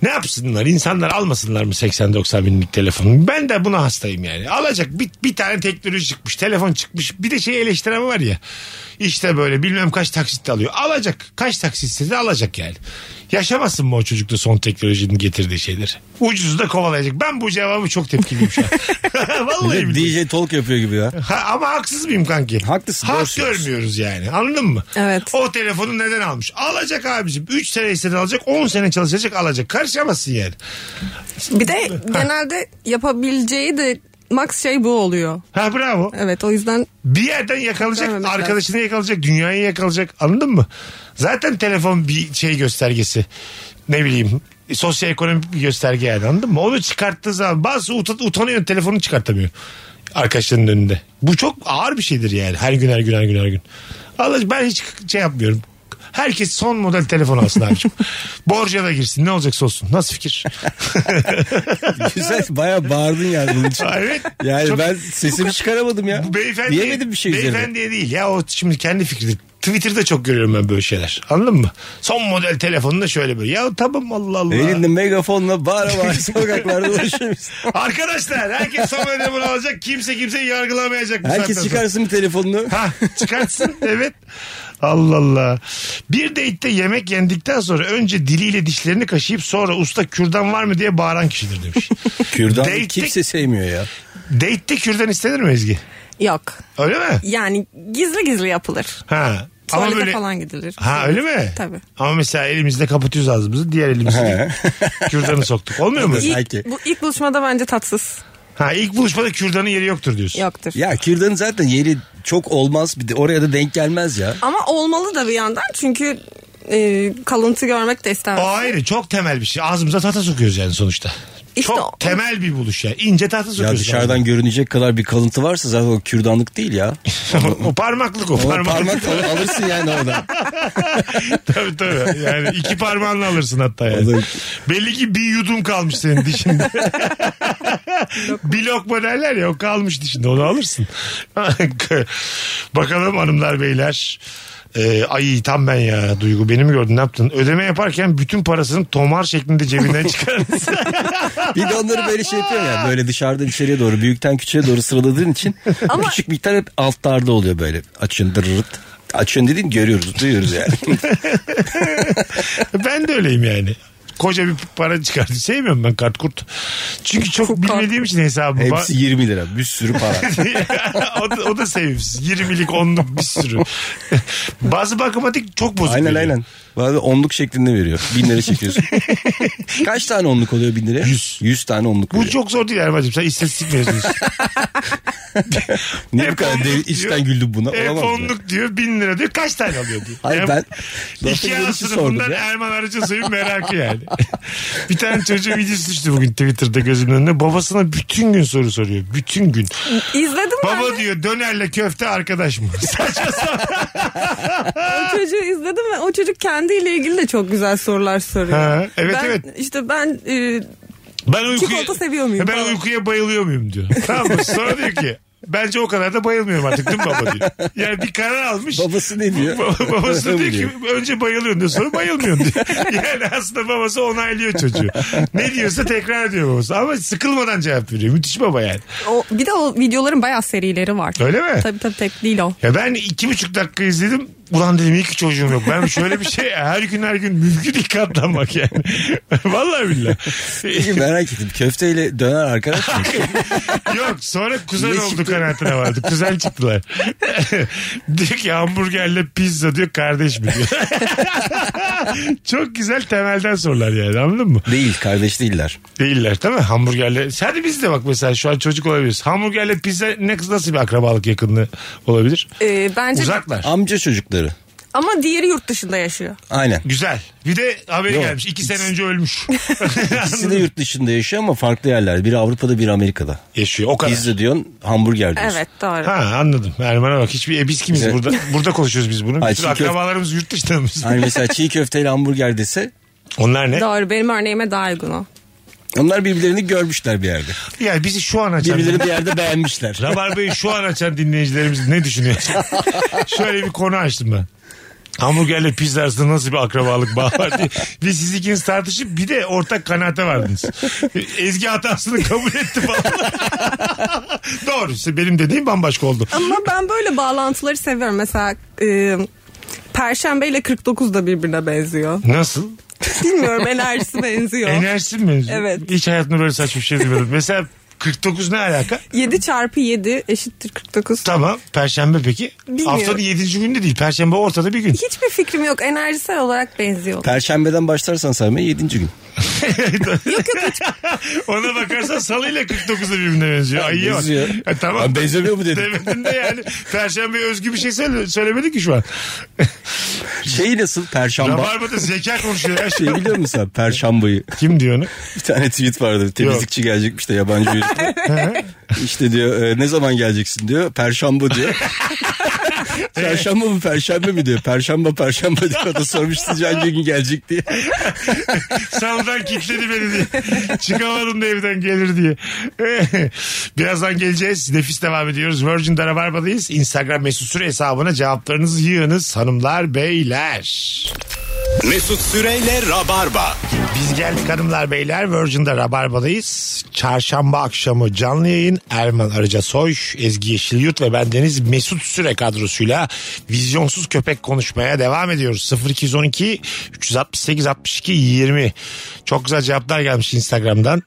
Speaker 3: Ne yapsınlar? İnsanlar almasınlar mı 80-90 binlik telefonu? Ben de buna hastayım yani. Alacak bir, bir tane teknoloji çıkmış. Telefon çıkmış. Bir de şey eleştiren var ya. İşte böyle bilmem kaç taksitle alıyor. Alacak. Kaç taksitle de alacak yani. Yaşamasın mı o çocukta son teknolojinin getirdiği şeyleri? Ucuzu da kovalayacak. Ben bu cevabı çok tepkiliyim şu an. Vallahi
Speaker 4: Bir de
Speaker 3: billahi.
Speaker 4: DJ Talk yapıyor gibi ya.
Speaker 3: Ha, ama haksız mıyım kanki?
Speaker 4: Haklısın, doğru
Speaker 3: Hak
Speaker 4: söylüyorsun.
Speaker 3: görmüyoruz yani. Anladın mı?
Speaker 5: Evet.
Speaker 3: O telefonu neden almış? Alacak abicim. 3 sene istedi alacak. 10 sene çalışacak alacak. Karışamazsın yani.
Speaker 5: Bir de genelde yapabileceği de max şey bu oluyor.
Speaker 3: Ha bravo.
Speaker 5: Evet o yüzden
Speaker 3: Bir yerden yakalayacak.
Speaker 5: Görmemek lazım.
Speaker 3: arkadaşını yakalayacak. Dünyayı yakalayacak. Anladın mı? Zaten telefon bir şey göstergesi. Ne bileyim sosyoekonomik bir gösterge yani anladın mı? Onu çıkarttığı zaman bazı utan- utanıyor telefonu çıkartamıyor arkadaşlarının önünde. Bu çok ağır bir şeydir yani her gün her gün her gün her gün. Allah ben hiç şey yapmıyorum. Herkes son model telefon alsın abicim. Borca da girsin ne olacaksa olsun. Nasıl fikir?
Speaker 4: Güzel bayağı bağırdın yani bunun için.
Speaker 3: evet.
Speaker 4: Yani
Speaker 3: Çok-
Speaker 4: ben sesimi çıkaramadım ya.
Speaker 3: Bu beyefendi,
Speaker 4: Diyemedim bir şey üzerine.
Speaker 3: Beyefendiye değil ya o şimdi kendi fikridir. Twitter'da çok görüyorum ben böyle şeyler. Anladın mı? Son model telefonunda şöyle böyle. Ya tamam Allah Allah.
Speaker 4: Elinde megafonla bağıra bağıra sokaklarda dolaşıyoruz.
Speaker 3: Arkadaşlar herkes son model bunu alacak. Kimse kimseyi yargılamayacak. bu saatten
Speaker 4: Herkes
Speaker 3: sonra.
Speaker 4: çıkarsın bir telefonunu.
Speaker 3: Ha, çıkartsın evet. Allah Allah. Bir date'te yemek yendikten sonra önce diliyle dişlerini kaşıyıp sonra usta kürdan var mı diye bağıran kişidir demiş.
Speaker 4: Kürdan
Speaker 3: Date'lik-
Speaker 4: kimse sevmiyor ya.
Speaker 3: Date'te kürdan istenir mi Ezgi?
Speaker 5: yok.
Speaker 3: Öyle mi?
Speaker 5: Yani gizli gizli yapılır.
Speaker 3: Ha.
Speaker 5: Tuvalete falan gidilir.
Speaker 3: Ha öyle mi?
Speaker 5: Tabii.
Speaker 3: Ama mesela elimizle kapatıyoruz ağzımızı. Diğer elimizle kürdanı soktuk. Olmuyor mu?
Speaker 5: İlk,
Speaker 4: Sanki.
Speaker 5: bu ilk buluşmada bence tatsız
Speaker 3: Ha ilk buluşmada kürdanın yeri yoktur diyorsun.
Speaker 5: yoktur.
Speaker 4: Ya kürdanın zaten yeri çok olmaz. Bir de oraya da denk gelmez ya.
Speaker 5: Ama olmalı da bir yandan çünkü e, kalıntı görmek de
Speaker 3: O
Speaker 5: istemez.
Speaker 3: ayrı çok temel bir şey. Ağzımıza tahta sokuyoruz yani sonuçta.
Speaker 5: İşte
Speaker 3: çok
Speaker 5: o-
Speaker 3: temel bir buluş ya. İnce tahta sokuyoruz.
Speaker 4: Ya dışarıdan görünecek kadar bir kalıntı varsa zaten o kürdanlık değil ya.
Speaker 3: ağzına. o parmaklık o.
Speaker 4: O
Speaker 3: Parmaklık.
Speaker 4: parmak al- alırsın yani oradan.
Speaker 3: tabii tabii. Yani iki parmağınla alırsın hatta
Speaker 4: O
Speaker 3: yani.
Speaker 4: da-
Speaker 3: Belli ki bir yudum kalmış senin dişinde. bir lokma derler ya o kalmış dişinde onu alırsın. Bakalım hanımlar beyler. Ee, ay tam ben ya Duygu beni mi gördün ne yaptın? Ödeme yaparken bütün parasını tomar şeklinde cebinden çıkarırsın.
Speaker 4: Bir de onları böyle şey yapıyor ya. Böyle dışarıdan içeriye doğru büyükten küçüğe doğru sıraladığın için
Speaker 5: Ama-
Speaker 4: küçük miktar hep altlarda oluyor böyle. Açın dırırt. Açın dediğin görüyoruz duyuyoruz yani.
Speaker 3: ben de öyleyim yani. Koca bir para çıkardım. Sevmiyorum ben kart kurt. Çünkü çok bilmediğim için hesabımı.
Speaker 4: Hepsi 20 lira bir sürü para.
Speaker 3: o, da, o da sevimsiz. 20'lik 10'luk bir sürü. Bazı bankamatik çok bozuk.
Speaker 4: aynen
Speaker 3: veriyor.
Speaker 4: aynen. Bazen onluk şeklinde veriyor. Bin lira çekiyorsun. Kaç tane onluk oluyor bin liraya?
Speaker 3: Yüz.
Speaker 4: Yüz tane onluk
Speaker 3: Bu
Speaker 4: veriyor.
Speaker 3: çok zor değil Erman'cığım. Sen istatistik mezunusun.
Speaker 4: Niye bu kadar
Speaker 3: Hep
Speaker 4: dev,
Speaker 3: onluk
Speaker 4: içten
Speaker 3: diyor.
Speaker 4: güldüm buna?
Speaker 3: Hep
Speaker 4: Olamaz mı?
Speaker 3: onluk diyor bin lira diyor. Kaç tane alıyor diyor.
Speaker 4: Hayır
Speaker 3: Yani
Speaker 4: ben lafın
Speaker 3: İki A
Speaker 4: gelişi sordum
Speaker 3: sınıfından
Speaker 4: ya.
Speaker 3: Erman Arıcısoy'un merakı yani. bir tane çocuğun videosu düştü bugün Twitter'da gözümün önüne. Babasına bütün gün soru soruyor. Bütün gün.
Speaker 5: İzledim ben
Speaker 3: Baba
Speaker 5: de.
Speaker 3: diyor dönerle köfte arkadaş mı? Saçma sapan.
Speaker 5: O çocuğu izledim ve o çocuk kendiyle ilgili de çok güzel sorular soruyor.
Speaker 3: Ha, evet,
Speaker 5: ben,
Speaker 3: evet.
Speaker 5: İşte ben e,
Speaker 3: Ben uykuya,
Speaker 5: Çikolata seviyor muyum
Speaker 3: Ben
Speaker 5: falan.
Speaker 3: uykuya bayılıyor muyum diyor. Tamam mı? Sonra diyor ki bence o kadar da bayılmıyorum artık değil mi baba diyor. Yani bir karar almış.
Speaker 4: Babası ne diyor?
Speaker 3: Baba- babası diyor ki
Speaker 4: Diyor.
Speaker 3: önce bayılıyorsun diyor sonra bayılmıyorsun diyor. Yani aslında babası onaylıyor çocuğu. Ne diyorsa tekrar ediyor babası. Ama sıkılmadan cevap veriyor. Müthiş baba yani.
Speaker 5: o, bir de o videoların bayağı serileri var.
Speaker 3: Öyle mi?
Speaker 5: Tabii tabii tek değil o.
Speaker 3: Ya ben iki buçuk dakika izledim. Ulan dedim iyi ki çocuğum yok. Ben şöyle bir şey her gün her gün mümkün değil katlanmak yani. Vallahi billahi.
Speaker 4: Peki merak ettim. Köfteyle döner arkadaş mı?
Speaker 3: Yok sonra kuzen
Speaker 4: Ne
Speaker 3: oldu
Speaker 4: çıktı?
Speaker 3: kanaatine vardı. Kuzen çıktılar. diyor ki hamburgerle pizza diyor kardeş mi diyor. Çok güzel temelden sorular yani anladın mı?
Speaker 4: Değil kardeş değiller.
Speaker 3: Değiller değil mi? Hamburgerle. Hadi biz de bak mesela şu an çocuk olabiliriz. Hamburgerle pizza ne nasıl bir akrabalık yakınlığı olabilir?
Speaker 5: E, bence
Speaker 3: Uzaklar.
Speaker 4: Amca çocukları.
Speaker 5: ama diğeri yurt dışında yaşıyor.
Speaker 4: Aynen.
Speaker 3: Güzel. Bir de haberi
Speaker 4: Yok.
Speaker 3: gelmiş. iki sene önce ölmüş.
Speaker 4: İkisi de yurt dışında yaşıyor ama farklı yerlerde. Biri Avrupa'da biri Amerika'da.
Speaker 3: Yaşıyor o kadar.
Speaker 4: Pizza diyorsun hamburger diyorsun.
Speaker 5: Evet doğru.
Speaker 3: Ha anladım. Erman'a bak hiçbir e, biz kimiz
Speaker 4: Evet.
Speaker 3: burada burada konuşuyoruz biz bunu.
Speaker 4: Ay,
Speaker 3: Bütün
Speaker 4: çünkü-
Speaker 3: akrabalarımız yurt dışında mı?
Speaker 4: Hani mesela çiğ köfteyle hamburger dese
Speaker 3: Onlar ne?
Speaker 5: Doğru benim örneğime daha uygun o.
Speaker 4: onlar birbirlerini görmüşler bir yerde.
Speaker 3: Ya bizi şu an açan
Speaker 4: Birbirlerini bir yerde beğenmişler.
Speaker 3: Rabarba'yı şu an açan dinleyicilerimiz ne düşünüyor? Şöyle bir konu açtım ben. Hamburgerle pizza arasında nasıl bir akrabalık bağı var diye. Ve siz ikiniz tartışıp bir de ortak kanaate vardınız. Ezgi hatasını kabul etti falan. Doğrusu benim dediğim bambaşka oldu.
Speaker 5: Ama ben böyle bağlantıları seviyorum. Mesela e, Perşembe ile 49 da birbirine benziyor.
Speaker 3: Nasıl?
Speaker 5: Bilmiyorum enerjisi benziyor.
Speaker 3: Enerjisi mi?
Speaker 5: Evet.
Speaker 3: Hiç hayatımda böyle saçma bir şey duymadım. Mesela 49 ne alaka?
Speaker 5: 7 çarpı 7 eşittir 49.
Speaker 3: Tamam. Perşembe peki?
Speaker 5: Bilmiyorum.
Speaker 3: Haftanın 7. günü değil. Perşembe ortada bir gün.
Speaker 5: Hiçbir fikrim yok. Enerjisel olarak benziyor.
Speaker 4: Perşembeden başlarsan saymaya 7. gün.
Speaker 3: Ona bakarsan salıyla 49'a birbirine benziyor. Ayıya bak.
Speaker 4: benziyor.
Speaker 3: E, tamam.
Speaker 4: Ben benzemiyor mu dedim.
Speaker 3: Demedin de yani. Perşembe özgü bir şey söyle, söylemedi ki şu an.
Speaker 4: Şey nasıl perşembe?
Speaker 3: Rabarba'da zeka konuşuyor ya.
Speaker 4: Şey biliyor musun sen perşambayı?
Speaker 3: Kim diyor onu?
Speaker 4: Bir tane tweet vardı. Temizlikçi gelecekmiş de yabancı yürüyüşte. işte diyor "E, ne zaman geleceksin diyor. Perşembe diyor. Perşembe mi perşembe mi diyor. Perşembe perşembe diyor. O da sormuş sizce hangi gün gelecek diye.
Speaker 3: Saldan kilitledi beni diye. Çıkamadım da evden gelir diye. Birazdan geleceğiz. Nefis devam ediyoruz. Virgin'de Rabarba'dayız. Instagram mesut süre hesabına cevaplarınızı yığınız hanımlar beyler.
Speaker 2: Mesut Süreyle Rabarba.
Speaker 3: Biz geldik hanımlar beyler Virgin'de Rabarba'dayız. Çarşamba akşamı canlı yayın Erman Arıca Soy, Ezgi Yeşilyurt ve bendeniz Mesut Süre kadrosuyla vizyonsuz köpek konuşmaya devam ediyoruz. 0212 368 62 20 çok güzel cevaplar gelmiş Instagram'dan.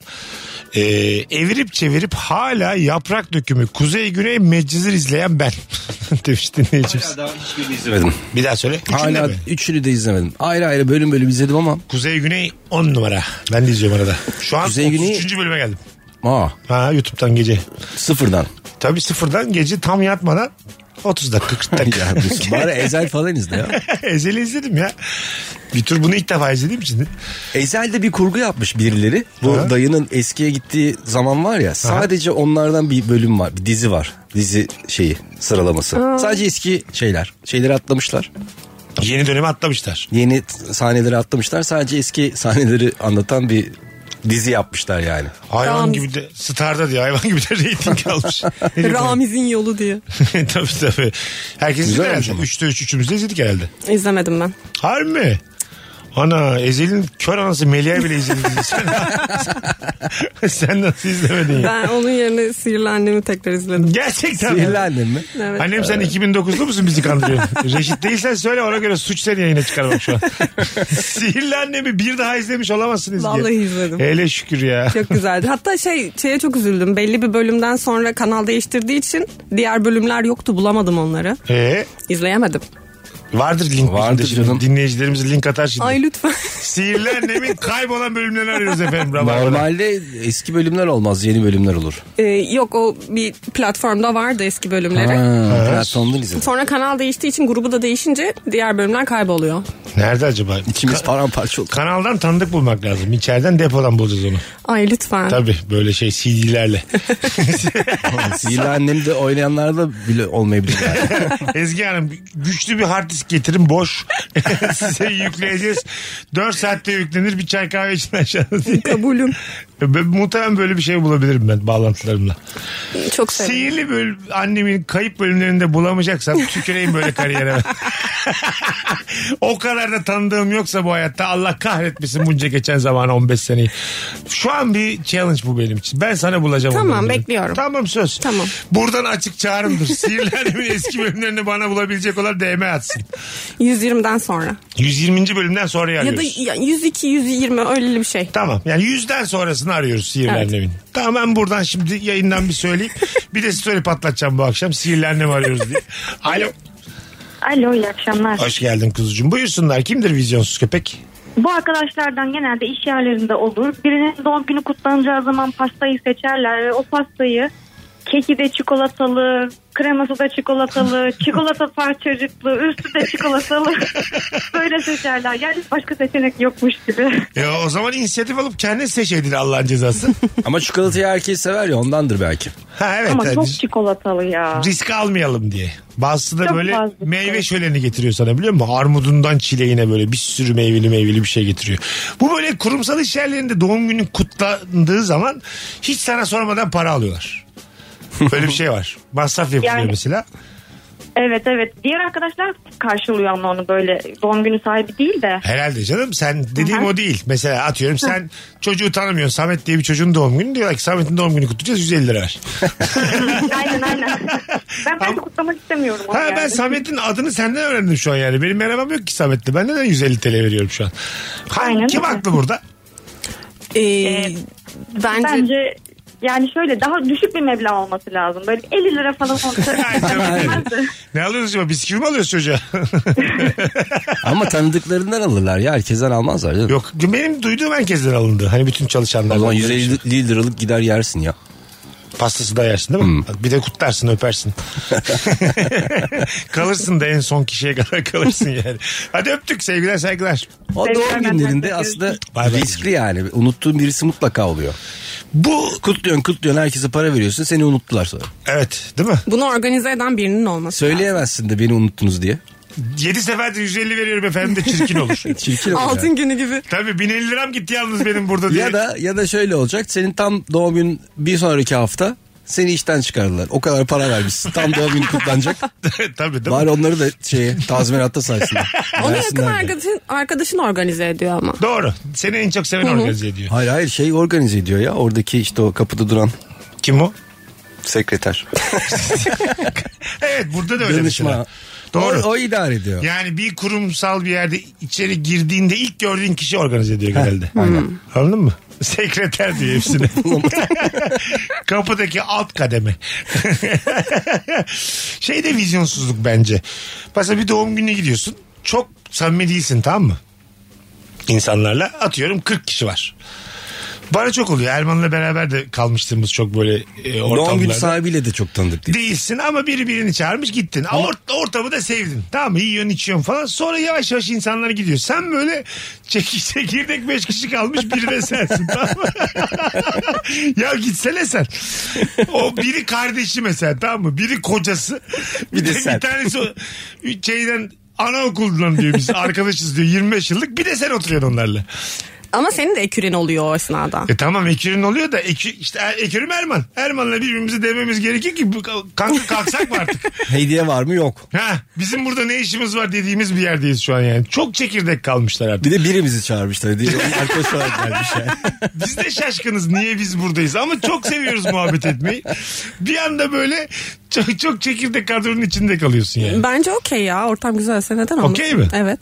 Speaker 3: Ee, evirip çevirip hala yaprak dökümü kuzey güney meccizir izleyen ben demiş dinleyicimiz.
Speaker 4: daha hiçbirini izlemedim.
Speaker 3: Bir daha söyle. Üçünü
Speaker 4: Hala
Speaker 3: de mi?
Speaker 4: üçünü de izlemedim. Ayrı ayrı bölüm bölüm izledim ama.
Speaker 3: Kuzey güney 10 numara. Ben de izliyorum arada. Şu an
Speaker 4: Kuzey, Güney-
Speaker 3: 33. bölüme geldim.
Speaker 4: Aa,
Speaker 3: Ha YouTube'dan gece.
Speaker 4: sıfırdan.
Speaker 3: Tabii sıfırdan gece tam yatmadan 30 dakika 40 dakika.
Speaker 4: ya, bu- bari Ezel falan izle ya.
Speaker 3: Ezeli izledim ya. Bir tür bunu ilk defa izlediğim için.
Speaker 4: Ezel'de bir kurgu yapmış birileri. Bu
Speaker 3: Aha.
Speaker 4: dayının eskiye gittiği zaman var ya. Sadece onlardan bir bölüm var. Bir dizi var. Dizi şeyi sıralaması. Sadece eski şeyler. Şeyleri atlamışlar.
Speaker 3: Yeni dönemi atlamışlar.
Speaker 4: Yeni t- sahneleri atlamışlar. Sadece eski sahneleri anlatan bir dizi yapmışlar yani.
Speaker 3: Hayvan
Speaker 5: Ramiz.
Speaker 3: gibi de starda diye hayvan gibi de reyting almış. Ne diyor?
Speaker 5: Ramiz'in yolu diye.
Speaker 3: tabii tabii. Herkes izledi
Speaker 4: Güzel olmuş
Speaker 3: herhalde.
Speaker 4: ama.
Speaker 3: 3'te 3 üçümüz de izledik herhalde.
Speaker 5: İzlemedim ben.
Speaker 3: Harbi mi? Ana Ezel'in kör anası Melia bile izledi. Sen, sen nasıl izlemedin ya?
Speaker 5: Ben onun yerine sihirli annemi tekrar izledim.
Speaker 3: Gerçekten mi?
Speaker 4: Sihirli annem mi?
Speaker 5: Evet.
Speaker 3: Annem sen 2009'lu musun bizi kandırıyorsun? Reşit değilsen söyle ona göre suç seni yayına çıkarmak şu an. Sihirli annemi bir daha izlemiş olamazsınız diye.
Speaker 5: Vallahi izledim.
Speaker 3: Hele şükür ya.
Speaker 5: Çok güzeldi. Hatta şey şeye çok üzüldüm. Belli bir bölümden sonra kanal değiştirdiği için diğer bölümler yoktu. Bulamadım onları.
Speaker 3: Ee,
Speaker 5: İzleyemedim.
Speaker 3: vardır link.
Speaker 4: Vardır
Speaker 3: Vardır
Speaker 4: canım.
Speaker 3: Dinleyicilerimiz link atar şimdi.
Speaker 5: Ay lütfen.
Speaker 3: Sihirli annemin kaybolan bölümlerini arıyoruz efendim. Rabarba'da.
Speaker 4: Normalde eski bölümler olmaz. Yeni bölümler olur.
Speaker 5: Ee, yok o bir platformda vardı eski
Speaker 4: Ha,
Speaker 5: bölümleri.
Speaker 4: platformdan izledim.
Speaker 5: Sonra kanal değiştiği için grubu da değişince diğer bölümler kayboluyor.
Speaker 3: Nerede acaba?
Speaker 4: İçimiz paramparça oldu.
Speaker 3: Kanaldan tanıdık bulmak lazım. İçeriden depodan bulacağız onu.
Speaker 5: Ay lütfen.
Speaker 3: Tabii böyle şey CD'lerle.
Speaker 4: Sihirli annem de oynayanlarda bile olmayabilir. yani.
Speaker 3: Ezgi Hanım güçlü bir hard disk getirin boş. Size yükleyeceğiz. 4 saatte yüklenir bir çay kahve için aşağıda diye.
Speaker 5: Kabulüm.
Speaker 3: Ben, muhtemelen böyle bir şey bulabilirim ben bağlantılarımla.
Speaker 5: Çok sevindim.
Speaker 3: Sihirli bölüm, annemin kayıp bölümlerinde bulamayacaksam tüküreyim böyle kariyere. o kadar da tanıdığım yoksa bu hayatta Allah kahretmesin bunca geçen zaman 15 seneyi. Şu an bir challenge bu benim için. Ben sana bulacağım. o
Speaker 5: Tamam,
Speaker 3: bölümleri.
Speaker 5: bekliyorum.
Speaker 3: Tamam söz.
Speaker 5: Tamam.
Speaker 3: Buradan açık çağrımdır. Sihirli annemin eski bölümlerini bana bulabilecek olan DM atsın.
Speaker 5: 120'den sonra.
Speaker 3: 120. bölümden sonra
Speaker 5: Ya
Speaker 3: arıyoruz.
Speaker 5: da ya- 102, 120 öyle bir şey.
Speaker 3: Tamam yani yüzden sonrasını arıyoruz sihirli
Speaker 5: Evet.
Speaker 3: annemin. Tamam ben buradan şimdi yayından bir söyleyeyim. bir de story patlatacağım bu akşam sihirli annemi arıyoruz diye. Alo.
Speaker 9: Alo iyi akşamlar.
Speaker 3: Hoş geldin kuzucuğum. Buyursunlar kimdir vizyonsuz köpek?
Speaker 9: Bu arkadaşlardan genelde iş yerlerinde olur. Birinin doğum günü kutlanacağı zaman pastayı seçerler ve o pastayı keki de çikolatalı, kreması da çikolatalı, çikolata parçacıklı, üstü de çikolatalı. Böyle seçerler. Yani başka seçenek yokmuş gibi.
Speaker 3: E, o zaman inisiyatif alıp kendin seçeydin Allah'ın cezası.
Speaker 4: Ama çikolatayı herkes sever ya ondandır belki.
Speaker 3: ha evet.
Speaker 9: Ama
Speaker 3: Yani
Speaker 9: çok
Speaker 3: biz
Speaker 9: çikolatalı ya.
Speaker 3: Risk almayalım diye. Bazısı da
Speaker 9: Çok
Speaker 3: böyle
Speaker 9: fazla.
Speaker 3: meyve şöleni getiriyor sana biliyor musun? Armudundan çileğine böyle bir sürü meyveli meyveli bir şey getiriyor. Bu böyle kurumsal iş yerlerinde doğum günün kutlandığı zaman hiç sana sormadan para alıyorlar. Böyle bir şey var. Masraf yapılıyor
Speaker 9: Yani-
Speaker 3: mesela.
Speaker 9: Evet evet. Diğer arkadaşlar karşılıyor ama onu böyle doğum günü sahibi değil de.
Speaker 3: Herhalde canım sen dediğim
Speaker 9: Hı hı.
Speaker 3: o değil. Mesela atıyorum sen çocuğu tanımıyorsun. Samet diye bir çocuğun doğum günü diyorlar ki Samet'in doğum günü kutlayacağız 150 lira ver.
Speaker 9: aynen aynen. Ben belki kutlamak istemiyorum. onu
Speaker 3: Ha
Speaker 9: yani.
Speaker 3: ben Samet'in adını senden öğrendim şu an yani. Benim merhabam yok ki Samet'le. Ben neden 150 TL veriyorum şu an? Ha,
Speaker 9: Aynen
Speaker 3: kim
Speaker 9: öyle.
Speaker 3: haklı burada?
Speaker 5: Ee, bence,
Speaker 9: Bence yani şöyle daha düşük bir meblağ olması lazım. Böyle 50 lira falan olsa. Olmazdı.
Speaker 3: Ne alıyorsunuz acaba? Bisküvi mi alıyoruz çocuğa?
Speaker 4: Ama tanıdıklarından alırlar ya. Herkesten almazlar. Canım.
Speaker 3: yok benim duyduğum herkesten alındı. Hani bütün çalışanlar.
Speaker 4: O zaman 150 liralık gider yersin ya.
Speaker 3: Pastası da yersin değil
Speaker 4: Hmm.
Speaker 3: mi? Bir de kutlarsın öpersin. kalırsın da en son kişiye kadar kalırsın yani. Hadi öptük sevgiler saygılar.
Speaker 4: O
Speaker 9: Sevgiler,
Speaker 4: doğum
Speaker 9: benden
Speaker 4: günlerinde
Speaker 9: teşekkür
Speaker 4: aslında
Speaker 3: Bay bay.
Speaker 4: riskli yani. Unuttuğun birisi mutlaka oluyor.
Speaker 3: Bu
Speaker 4: Kutluyorsun kutluyorsun herkese para veriyorsun seni unuttular sonra.
Speaker 3: evet değil mi?
Speaker 5: bunu organize eden birinin olması.
Speaker 4: Söyleyemezsin de beni unuttunuz diye.
Speaker 3: 7 seferde 150 veriyorum efendim de çirkin olur.
Speaker 4: Çirkin olur
Speaker 5: Altın
Speaker 4: yani.
Speaker 5: günü gibi.
Speaker 3: Tabii 1050 liram gitti yalnız benim burada diye.
Speaker 4: Ya da ya da şöyle olacak. Senin tam doğum günün bir sonraki hafta seni işten çıkardılar. O kadar para vermişsin. Tam doğum günü kutlanacak.
Speaker 3: Tabii değil mi?
Speaker 4: Bari onları da şeye tazminatta saysınlar.
Speaker 5: Onu yakın
Speaker 4: Versinler de.
Speaker 5: arkadaşın, arkadaşın organize ediyor ama.
Speaker 3: Doğru. Seni en çok seven organize ediyor.
Speaker 4: Hayır hayır şey organize ediyor ya. Oradaki işte o kapıda duran
Speaker 3: Kim o?
Speaker 4: sekreter.
Speaker 3: Evet burada da öyle
Speaker 4: Danışma.
Speaker 3: mesela. Doğru.
Speaker 4: şey. O, o idare ediyor.
Speaker 3: Yani bir kurumsal bir yerde içeri girdiğinde ilk gördüğün kişi organize ediyor genelde. Aynen. Anladın mı? Sekreter diyor hepsine. Kapıdaki alt kademe. şey de vizyonsuzluk bence. Mesela bir doğum gününe gidiyorsun. Çok samimi değilsin tamam mı? İnsanlarla atıyorum 40 kişi var. Bana çok oluyor. Erman'la beraber de kalmıştığımız çok böyle e, ortamlarda.
Speaker 4: Doğum günü sahibiyle de çok tanıdık değil.
Speaker 3: Değilsin ama biri birini çağırmış gittin. Ort- ortamı da sevdin. Tamam mı? Yiyorsun içiyorsun falan. Sonra yavaş yavaş insanlar gidiyor. Sen böyle çekiş çekirdek beş kişi kalmış biri de sensin. Tamam mı? ya gitsene sen. O biri kardeşi mesela tamam mı? Biri kocası. Bir,
Speaker 4: de
Speaker 3: de
Speaker 4: sen.
Speaker 3: Bir tanesi o- şeyden anaokulundan diyor biz arkadaşız diyor 25 yıllık bir de sen oturuyorsun onlarla.
Speaker 5: Ama senin de eküren oluyor o esnada.
Speaker 3: E tamam ekürün oluyor da ekü, işte ekürüm Erman. Erman'la birbirimize dememiz gerekir ki bu- kanka kalksak mı artık?
Speaker 4: Hediye var mı? Yok.
Speaker 3: Ha, bizim burada ne işimiz var dediğimiz bir yerdeyiz şu an yani. Çok çekirdek kalmışlar artık.
Speaker 4: Bir de birimizi çağırmışlar. Diye arkadaş olarak gelmiş yani.
Speaker 3: Biz de şaşkınız niye biz buradayız ama çok seviyoruz muhabbet etmeyi. Bir anda böyle çok, çok çekirdek kadronun içinde kalıyorsun yani.
Speaker 5: Bence okey ya ortam güzelse neden olmasın?
Speaker 3: Okey mi?
Speaker 5: Evet.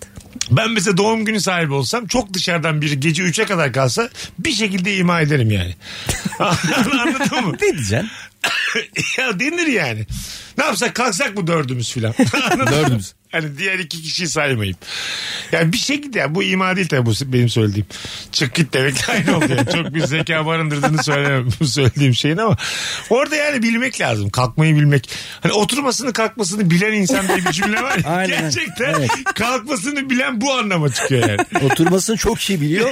Speaker 3: Ben mesela doğum günü sahibi olsam çok dışarıdan biri gece 3'e kadar kalsa bir şekilde ima ederim yani. Anladın mı?
Speaker 4: Ne diyeceksin?
Speaker 3: ya denir yani. Ne yapsak kalksak mı dördümüz filan. Anladın mı?
Speaker 4: Dördümüz.
Speaker 3: Hani diğer iki kişiyi saymayayım. Yani bir şekilde ya bu ima değil tabii bu benim söylediğim. Çık git demek aynı oldu. yani. Çok bir zeka barındırdığını söylemem bu söylediğim şeyin ama orada yani bilmek lazım. Kalkmayı bilmek. Hani oturmasını kalkmasını bilen insan diye bir cümle var ya.
Speaker 4: Aynen.
Speaker 3: Gerçekten
Speaker 4: Evet.
Speaker 3: kalkmasını bilen bu anlama çıkıyor yani.
Speaker 4: Oturmasını çok iyi biliyor.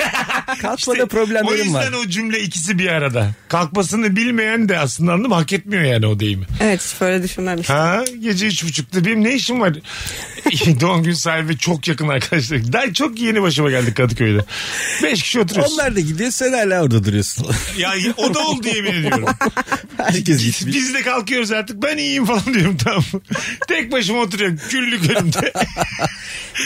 Speaker 4: Kalkmada
Speaker 3: İşte o
Speaker 4: problemlerim
Speaker 3: yüzden
Speaker 4: var.
Speaker 3: o cümle ikisi bir arada. Kalkmasını bilmeyen de aslında anladım hak etmiyor yani o deyimi.
Speaker 5: Evet hiç böyle düşünmemiştim.
Speaker 3: Ha gece üç buçukta benim ne işim var? Doğum gün sahibi çok yakın arkadaşlar. Daha çok yeni başıma geldik Kadıköy'de. Beş kişi oturuyoruz.
Speaker 4: Onlar da gidiyor sen hala orada duruyorsun.
Speaker 3: Ya o da oldu yemin ediyorum.
Speaker 4: Herkes gitmiş.
Speaker 3: Biz de kalkıyoruz artık ben iyiyim falan diyorum tamam mı? Tek başıma oturuyorum güllük önümde.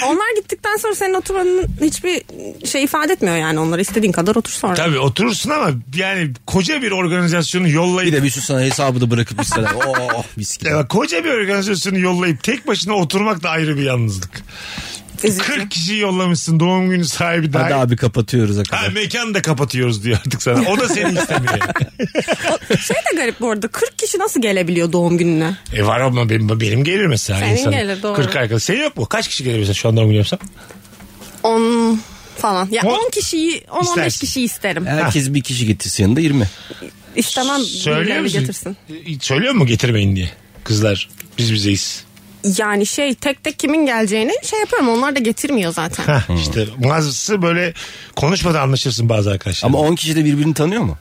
Speaker 5: Onlar gittikten sonra senin oturmanın hiçbir şey ifade etmiyor yani onlara istediğin kadar otur sonra.
Speaker 3: Tabii oturursun ama yani koca bir organizasyonu
Speaker 4: Bir
Speaker 3: yollayıp
Speaker 4: de bir sürü sana hesabı da bırakıp istedim. Oh mis gibi.
Speaker 3: Ya koca bir organizasyonu yollayıp tek başına oturmak da ayrı bir yalnızlık.
Speaker 5: Üzücü.
Speaker 3: 40 kişi yollamışsın doğum günü sahibi
Speaker 4: Hadi
Speaker 3: dahil.
Speaker 4: abi kapatıyoruz.
Speaker 3: Ha,
Speaker 4: Kadar.
Speaker 3: mekanı da kapatıyoruz diyor artık sana. O da seni istemiyor.
Speaker 5: O şey de garip bu arada 40 kişi nasıl gelebiliyor doğum gününe?
Speaker 3: E var ama benim, benim gelir mesela.
Speaker 5: Senin
Speaker 3: insan.
Speaker 5: gelir, doğru.
Speaker 3: 40 arkadaş. Senin yok mu? Kaç kişi gelir mesela şu an doğum günü yapsam?
Speaker 5: 10 falan. Ya
Speaker 3: On-
Speaker 5: 10 kişiyi 10-15
Speaker 3: İstersin.
Speaker 5: kişiyi isterim.
Speaker 4: Herkes bir kişi getirsin yanında 20.
Speaker 5: İstemem
Speaker 3: Söylüyor
Speaker 5: birileri
Speaker 3: musun?
Speaker 5: getirsin.
Speaker 3: E, Söylüyor mu getirmeyin diye? Kızlar biz bizeyiz.
Speaker 5: Yani şey tek tek kimin geleceğini şey yapıyorum onlar da getirmiyor zaten.
Speaker 3: Hah, işte Hmm. bazısı böyle konuşmadan anlaşırsın bazı arkadaşlar.
Speaker 4: Ama 10 kişi de birbirini tanıyor mu?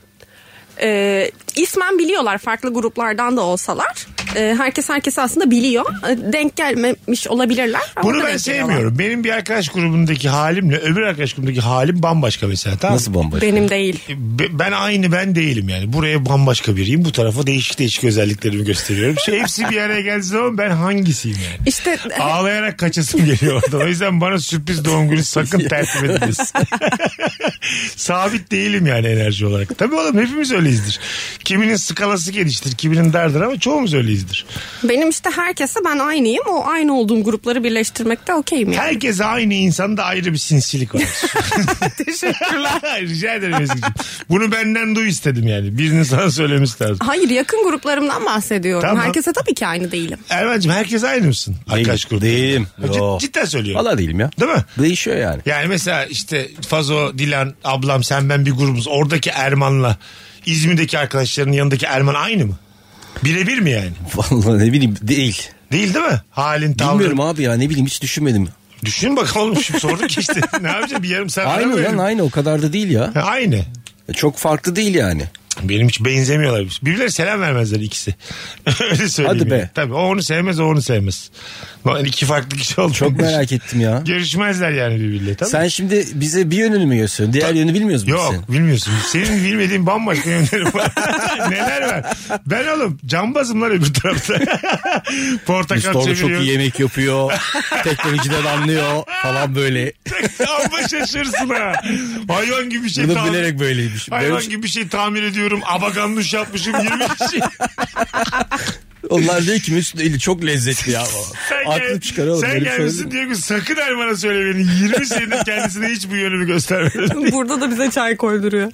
Speaker 5: ee, ismen biliyorlar farklı gruplardan da olsalar. e, herkes herkesi aslında biliyor. E, Denk gelmemiş olabilirler. ama
Speaker 3: Bunu
Speaker 5: orada
Speaker 3: ben
Speaker 5: denk geliyorlar.
Speaker 3: sevmiyorum. Benim bir arkadaş grubundaki halimle öbür arkadaş grubundaki halim bambaşka mesela. Tamam mı? E,
Speaker 4: Nasıl bomba?
Speaker 5: Benim değil.
Speaker 3: Be- ben aynı ben değilim yani. Buraya bambaşka biriyim. Bu tarafa değişik değişik özelliklerimi gösteriyorum. Şey, hepsi bir araya geldiği zaman ben hangisiyim yani?
Speaker 5: İşte
Speaker 3: Ağlayarak kaçasım geliyor orada. O yüzden bana sürpriz doğum günü sakın tertip ediniz. Sabit değilim yani enerji olarak. Tabii oğlum hepimiz öyleyizdir. Kiminin skalası geniştir, kiminin dardır ama çoğumuz öyleyizdir.
Speaker 5: benim işte herkese ben aynıyım. O aynı olduğum grupları birleştirmekte okeyim yani.
Speaker 3: Herkes aynı insanda ayrı bir sinsilik var. Teşekkürler. Rica ederim Ezgi'ciğim. Bunu benden duy istedim yani. Birinin sana söylemesi lazım.
Speaker 5: Hayır yakın gruplarımdan bahsediyorum.
Speaker 3: Tamam.
Speaker 5: Herkese tabii ki aynı değilim.
Speaker 3: Erman'cığım herkes aynı mısın? Arkadaş grubu.
Speaker 4: Değilim.
Speaker 3: Ha, cid-
Speaker 4: Yo.
Speaker 3: cidden söylüyorum.
Speaker 4: Valla değilim ya.
Speaker 3: Değil mi?
Speaker 4: Değişiyor yani.
Speaker 3: Yani mesela işte Fazo, Dilan, ablam, sen ben bir grubuz. Oradaki Erman'la İzmir'deki arkadaşlarının yanındaki Erman aynı mı? Birebir mi yani?
Speaker 4: Vallahi ne bileyim değil.
Speaker 3: Değil değil mi? Halin, tavrın.
Speaker 4: Bilmiyorum abi ya ne bileyim hiç düşünmedim.
Speaker 3: Düşün bakalım oğlum şimdi sorduk işte. ne yapacağız bir yarım saat.
Speaker 4: Aynı
Speaker 3: verelim.
Speaker 4: lan aynı o kadar da değil ya.
Speaker 3: Ha, Aynı.
Speaker 4: Çok farklı değil yani.
Speaker 3: Benim hiç benzemiyorlar. Birbirlerine selam vermezler ikisi. Öyle söyleyeyim.
Speaker 4: Hadi be.
Speaker 3: yani. Tabii o onu sevmez o onu sevmez. Yani iki farklı kişi oldu.
Speaker 4: Çok merak ettim ya.
Speaker 3: Görüşmezler yani birbirleriyle. Tabii.
Speaker 4: Sen şimdi bize bir yönünü mü gösteriyorsun? Diğer yönü bilmiyoruz mu
Speaker 3: Yok
Speaker 4: sen?
Speaker 3: bilmiyorsun. Senin bilmediğin bambaşka yönlerim var. Neler var? Ben oğlum cambazım lan öbür tarafta. Portakal
Speaker 4: Mustafa çok iyi
Speaker 3: çeviriyorum.
Speaker 4: yemek yapıyor. Teknolojiden anlıyor falan böyle.
Speaker 3: Amma şaşırsın ha. Hayvan gibi bir şey
Speaker 4: Bunu
Speaker 3: tamir-
Speaker 4: bilerek böyleymiş.
Speaker 3: Hayvan
Speaker 4: Böyle-
Speaker 3: gibi bir şey tamir ediyorum. Abaganduş yapmışım 20 şey.
Speaker 4: Onlar diyor ki Mesut eli çok lezzetli ya.
Speaker 3: Sen, gel,
Speaker 4: Aklı çıkaralım.
Speaker 3: sen gelmişsin diye ki sakın Erman'a söyle beni. 20 senedir kendisine hiç bu yönümü göstermedim.
Speaker 5: Burada da bize çay koyduruyor.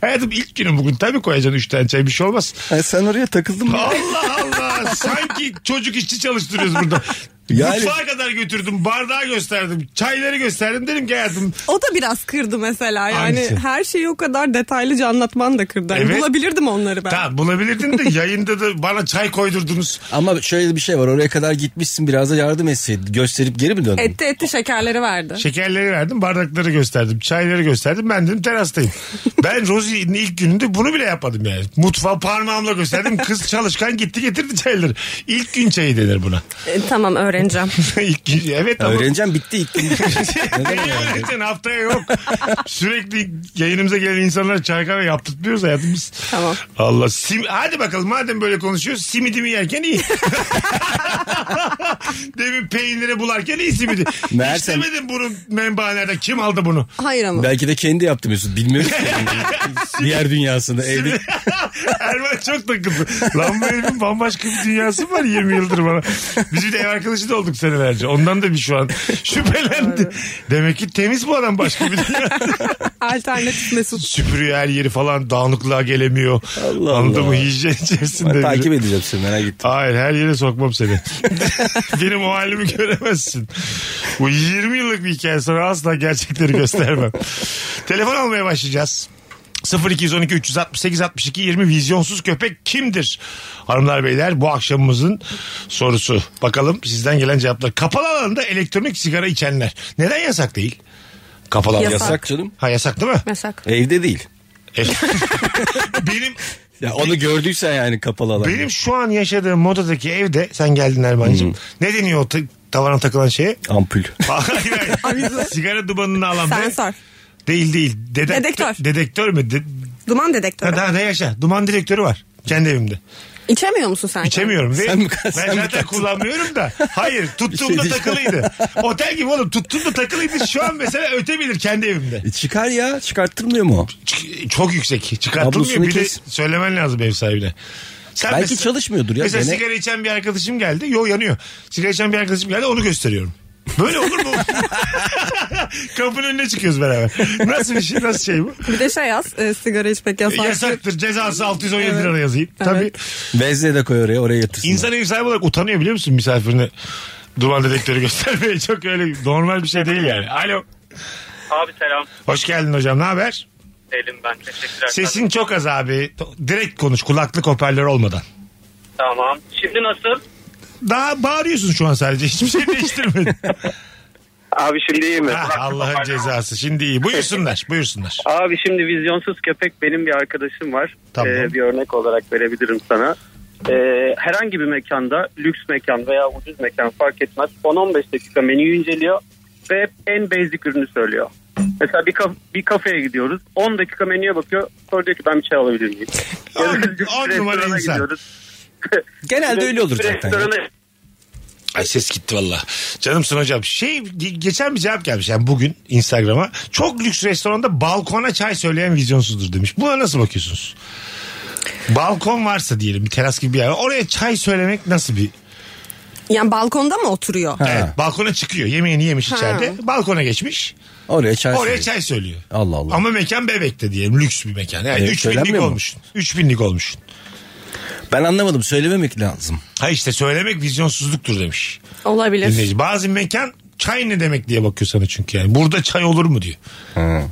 Speaker 3: Hayatım ilk günüm bugün. Tabii koyacaksın 3 tane çay bir şey olmaz.
Speaker 4: sen oraya takıldın mı?
Speaker 3: Allah Allah. Sanki çocuk işçi çalıştırıyoruz burada.
Speaker 4: Yani-
Speaker 3: Mutfağa kadar götürdüm. Bardağı gösterdim. Çayları gösterdim. Dedim ki hayatım.
Speaker 5: O da biraz kırdı mesela. Yani
Speaker 3: Hangisi?
Speaker 5: her şeyi o kadar detaylıca anlatman da kırdı. Hani
Speaker 3: Evet.
Speaker 5: Bulabilirdim onları ben.
Speaker 3: Tamam bulabilirdin de yayında da bana çay koydurdunuz.
Speaker 4: Ama şöyle bir şey var. Oraya kadar gitmişsin biraz da yardım etseydin. Gösterip geri mi döndün?
Speaker 5: Etti etti şekerleri verdi.
Speaker 3: Şekerleri verdim. Bardakları gösterdim. Çayları gösterdim. Ben dedim terastayım. ben Rosie'nin ilk gününde bunu bile yapmadım yani. Mutfağı parmağımla gösterdim. Kız çalışkan gitti getirdi çayları. İlk gün çayı denir buna.
Speaker 5: E, tamam öğreneceğim.
Speaker 3: ilk gün, evet ama.
Speaker 4: Öğreneceğim bitti ilk gün. Neden
Speaker 3: Neyi
Speaker 4: yani?
Speaker 3: öğreneceksin? haftaya yok. Sürekli yayınımıza gelen insanlar çay kahve yaptırtmıyoruz hayatım biz.
Speaker 5: Tamam.
Speaker 3: Allah sim hadi bakalım madem böyle konuşuyoruz simidimi yerken iyi. Demin peyniri bularken iyi simidi.
Speaker 4: Meğersem-
Speaker 3: İstemedim bunu menbaelerde kim aldı bunu?
Speaker 5: Hayır ama.
Speaker 4: Belki de kendi yaptı Mesut. Bilmiyoruz ki. Diğer dünyasında evde.
Speaker 3: Erman çok takıldı. Lan bu evin bambaşka bir dünyası var 20 yıldır bana. Biz bir de ev arkadaşı da olduk senelerce. Ondan da bir şu an şüphelendi. Demek ki temiz bu adam başka bir dünya.
Speaker 5: Alternatif Mesut.
Speaker 3: süpürüyor her yeri falan dağınıklığa gelemiyor.
Speaker 4: Allah
Speaker 3: Anladın
Speaker 4: Allah.
Speaker 3: mı? Hijyen içerisinde.
Speaker 4: Ben
Speaker 3: biri.
Speaker 4: takip edeceğim seni merak ettim.
Speaker 3: Hayır her yere sokmam seni. Benim o halimi göremezsin. Bu 20 yıllık bir hikaye sana asla gerçekleri göstermem. Telefon almaya başlayacağız. 0212 368 62 20 vizyonsuz köpek kimdir? Hanımlar beyler bu akşamımızın sorusu. Bakalım sizden gelen cevaplar. Kapalı alanda elektronik sigara içenler. Neden yasak değil? Kapalı alanda.
Speaker 5: Yasak.
Speaker 4: Yasak canım.
Speaker 3: Ha yasak değil mi?
Speaker 5: Mesak.
Speaker 4: Evde değil.
Speaker 3: benim
Speaker 4: Ya onu gördüysen yani kapalı alan.
Speaker 3: benim şu an yaşadığım modadaki evde sen geldin Erman'cığım. Ne deniyor o ta- tavana takılan şeye?
Speaker 4: Ampul.
Speaker 3: Hayır, hayır. Sigara dumanını alan be.
Speaker 5: Sensör.
Speaker 3: Değil değil. Dedek-
Speaker 5: Dedektör.
Speaker 3: Dedektör mü? De-
Speaker 5: Duman
Speaker 3: ha,
Speaker 5: dedektörü.
Speaker 3: daha ne yaşa? Duman dedektörü var. Kendi evimde.
Speaker 5: İçemiyor musun sen?
Speaker 3: İçemiyorum. Ve
Speaker 4: Sen mi-
Speaker 3: ben
Speaker 4: sen mi
Speaker 3: zaten
Speaker 4: taktın?
Speaker 3: kullanmıyorum da. Hayır tuttuğumda
Speaker 4: diyeceğim.
Speaker 3: takılıydı. Otel gibi oğlum tuttuğumda takılıydı. Şu an mesela ötebilir kendi evimde.
Speaker 4: E çıkar ya çıkarttırmıyor mu?
Speaker 3: Ç- çok yüksek. Çıkartılmıyor.
Speaker 4: Kablosunu
Speaker 3: Bir de
Speaker 4: kes.
Speaker 3: söylemen lazım ev sahibine. Sen
Speaker 4: Belki
Speaker 3: mesela-
Speaker 4: çalışmıyordur ya.
Speaker 3: Mesela
Speaker 4: Dene-
Speaker 3: sigara içen bir arkadaşım geldi. Yo yanıyor. Sigara içen bir arkadaşım geldi onu gösteriyorum. Böyle olur mu? Kapının önüne çıkıyoruz beraber. Nasıl bir şey nasıl şey bu?
Speaker 5: Bir de şey yaz. e, sigara içmek yasak.
Speaker 3: Yasaktır cezası 617
Speaker 5: Evet.
Speaker 3: lira yazayım.
Speaker 5: Evet.
Speaker 3: Tabii.
Speaker 4: Bezle de koy oraya oraya yatırsın.
Speaker 3: İnsan ev sahibi olarak utanıyor biliyor musun misafirine duman dedektörü göstermeye? Çok öyle normal bir şey değil yani. Alo.
Speaker 7: Abi selam.
Speaker 3: Hoş geldin hocam ne haber?
Speaker 7: Elim ben. Teşekkürler.
Speaker 3: Sesin çok az abi. Direkt konuş kulaklık hoparlör olmadan.
Speaker 7: Tamam. Şimdi nasıl?
Speaker 3: Daha bağırıyorsun şu an sadece. Hiçbir şey değiştirmedin.
Speaker 7: Abi şimdi iyi mi?
Speaker 3: Ha, Allah'ın cezası. Şimdi iyi. Buyursunlar. Buyursunlar.
Speaker 7: Abi şimdi vizyonsuz köpek benim bir arkadaşım var.
Speaker 3: Tamam.
Speaker 7: bir örnek olarak verebilirim sana. e, herhangi bir mekanda lüks mekan veya ucuz mekan fark etmez 10-15 dakika menüyü inceliyor ve hep en basic ürünü söylüyor. Mesela bir, kaf- bir kafeye gidiyoruz 10 dakika menüye bakıyor sonra diyor ki ben bir çay alabilir miyim?
Speaker 3: On-
Speaker 7: Ya da lüks
Speaker 3: on numara
Speaker 7: restorana
Speaker 3: insan.
Speaker 7: gidiyoruz.
Speaker 4: Genelde öyle olur
Speaker 7: Lüks
Speaker 4: zaten.
Speaker 7: restorana-
Speaker 3: Ay ses gitti valla. Canımsın hocam. Şey ge- geçen bir cevap gelmiş yani bugün Instagram'a. Çok lüks restoranda balkona çay söyleyen vizyonsuzdur demiş. Buna nasıl bakıyorsunuz? Balkon varsa diyelim bir teras gibi bir yer. var. Oraya çay söylemek nasıl bir?
Speaker 5: Yani balkonda mı oturuyor?
Speaker 3: Evet, balkona çıkıyor. Yemeğini yemiş
Speaker 5: Ha.
Speaker 3: içeride. Balkona geçmiş.
Speaker 4: Oraya çay
Speaker 3: Oraya
Speaker 4: söyleyeyim.
Speaker 3: çay söylüyor.
Speaker 4: şey. Allah Allah.
Speaker 3: Ama mekan bebekte diyelim. Lüks bir mekan. Yani
Speaker 4: Evet,
Speaker 3: 3000'lik
Speaker 4: söylenmiyor mu?
Speaker 3: olmuş. 3000'lik olmuş.
Speaker 4: Ben anlamadım. Söylememek lazım.
Speaker 3: Ha işte söylemek vizyonsuzluktur demiş.
Speaker 5: Olabilir.
Speaker 3: Dinleyici. Bazı mekan çay ne demek diye bakıyor sana çünkü yani. Burada çay olur mu diyor.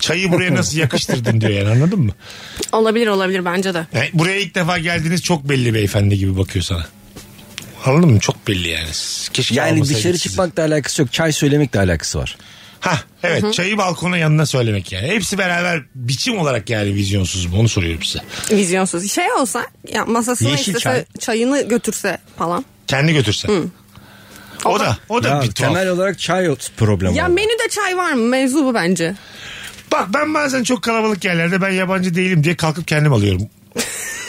Speaker 3: Çayı buraya nasıl yakıştırdın diyor yani anladın mı?
Speaker 5: Olabilir olabilir bence de.
Speaker 3: Yani buraya ilk defa geldiğiniz çok belli beyefendi gibi bakıyor sana. Anladın mı? Çok belli yani. Keşke
Speaker 4: Yani
Speaker 3: almasaydık
Speaker 4: dışarı
Speaker 3: sizi.
Speaker 4: çıkmakla alakası yok. Çay söylemekle alakası var.
Speaker 3: Ha evet çayı balkona yanına söylemek yani. Hepsi beraber biçim olarak yani vizyonsuz mu onu soruyorum size.
Speaker 5: Vizyonsuz. Şey olsa ya masasına
Speaker 4: Yeşil
Speaker 5: istese
Speaker 4: çay.
Speaker 5: çayını götürse falan.
Speaker 3: Kendi götürsen. O da o da
Speaker 4: Ya,
Speaker 3: bir tuhaf.
Speaker 4: temel olarak çay problemi.
Speaker 5: Ya
Speaker 4: Ya
Speaker 5: menüde çay var mı? Mevzu bu bence.
Speaker 3: Bak ben bazen çok kalabalık yerlerde ben yabancı değilim diye kalkıp kendim alıyorum.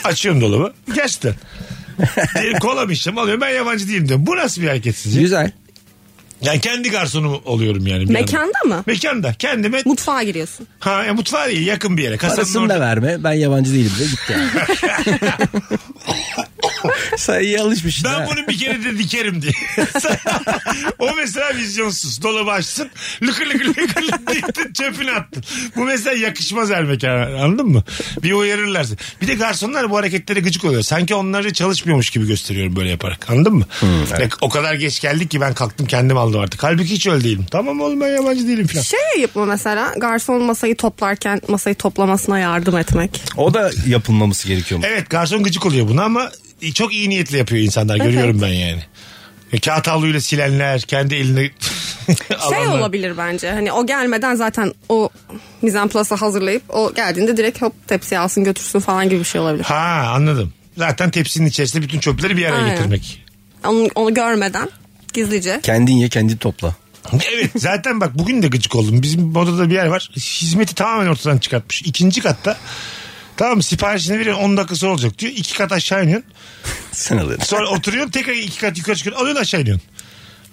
Speaker 3: Açıyorum dolabı. Gerçekten. Diyelim kola mı içtim alıyorum ben yabancı değilim diyorum. Bu nasıl bir hareket sizce?
Speaker 4: Güzel.
Speaker 3: Yani kendi garsonum oluyorum yani. bir anda.
Speaker 5: Mekanda mı?
Speaker 3: Mekanda kendime
Speaker 5: Mutfağa giriyorsun.
Speaker 3: ha, e, mutfağa değil yakın bir yere. Kasanın
Speaker 4: Parasını
Speaker 3: orada.
Speaker 4: da verme. Ben yabancı değilim de gitti. yani. Sen iyi alışmışsın.
Speaker 3: Ben
Speaker 4: ha.
Speaker 3: bunu bir kere de dikerim diye. o mesela vizyonsuz. Dolabı açsın. Lıkır lıkır lıkır lıkır diktin çöpünü attın. Bu mesela yakışmaz her mekana. Anladın mı? Bir uyarırlar. seni. Bir de garsonlar bu hareketlere gıcık oluyor. Sanki onları çalışmıyormuş gibi gösteriyorum böyle yaparak. Anladın mı? Ya, O kadar geç geldik ki ben kalktım kendim aldım artık. Halbuki hiç öyle değilim. Tamam oğlum ben yabancı değilim falan.
Speaker 5: Şey yapıp mı mesela garson masayı toplarken masayı toplamasına yardım etmek.
Speaker 4: O da yapılmaması gerekiyor. mu?
Speaker 3: Evet garson gıcık oluyor buna ama çok iyi niyetle yapıyor insanlar. Görüyorum ben yani. E, Kağıt havluyla silenler, kendi eline
Speaker 5: Şey
Speaker 3: alanlar.
Speaker 5: olabilir bence. Hani o gelmeden zaten o mizan plasa hazırlayıp o geldiğinde direkt hop tepsiye alsın götürsün falan gibi bir şey olabilir.
Speaker 3: Ha anladım. Zaten tepsinin içerisinde bütün çöpleri bir araya
Speaker 5: Aynen.
Speaker 3: getirmek.
Speaker 5: Onu, onu görmeden gizlice.
Speaker 4: Kendin ye kendin topla.
Speaker 3: Evet zaten bak bugün de gıcık oldum. Bizim odada bir yer var. Hizmeti tamamen ortadan çıkartmış. İkinci katta Tamam mı? siparişini veriyorsun 10 dakika sonra olacak diyor. İki kat aşağı iniyorsun.
Speaker 4: Sen alıyorsun.
Speaker 3: Sonra oturuyorsun tekrar iki kat yukarı çıkıyorsun. Alıyorsun aşağı iniyorsun.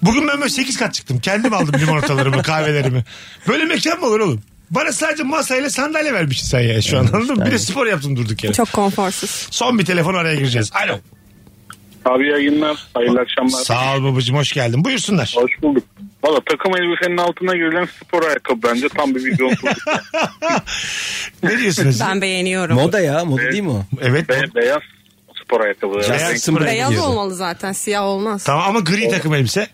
Speaker 3: Bugün ben böyle 8 kat çıktım. Kendim aldım limonatalarımı kahvelerimi. Böyle mekan mı olur oğlum? Bana sadece masayla sandalye vermişsin sen ya şu an anladın mı? Bir de spor yaptım durduk yere.
Speaker 5: Çok konforsuz.
Speaker 3: Son bir telefon araya gireceğiz. Alo.
Speaker 8: Abi yayınlar. Hayırlı akşamlar.
Speaker 3: Sağ ol babacığım hoş geldin. Buyursunlar.
Speaker 8: Hoş bulduk. Valla takım elbisenin altına girilen spor ayakkabı bence tam bir vizyonsuzluk.
Speaker 3: ne diyorsunuz?
Speaker 5: Ben beğeniyorum.
Speaker 4: Moda ya moda değil mi o?
Speaker 3: Evet.
Speaker 8: Be- beyaz spor ayakkabı.
Speaker 3: E, Beyaz
Speaker 4: Jackson
Speaker 3: spor
Speaker 4: Brand
Speaker 5: Beyaz
Speaker 4: giyiyordu.
Speaker 5: olmalı zaten siyah olmaz.
Speaker 3: Tamam ama gri takım elbise.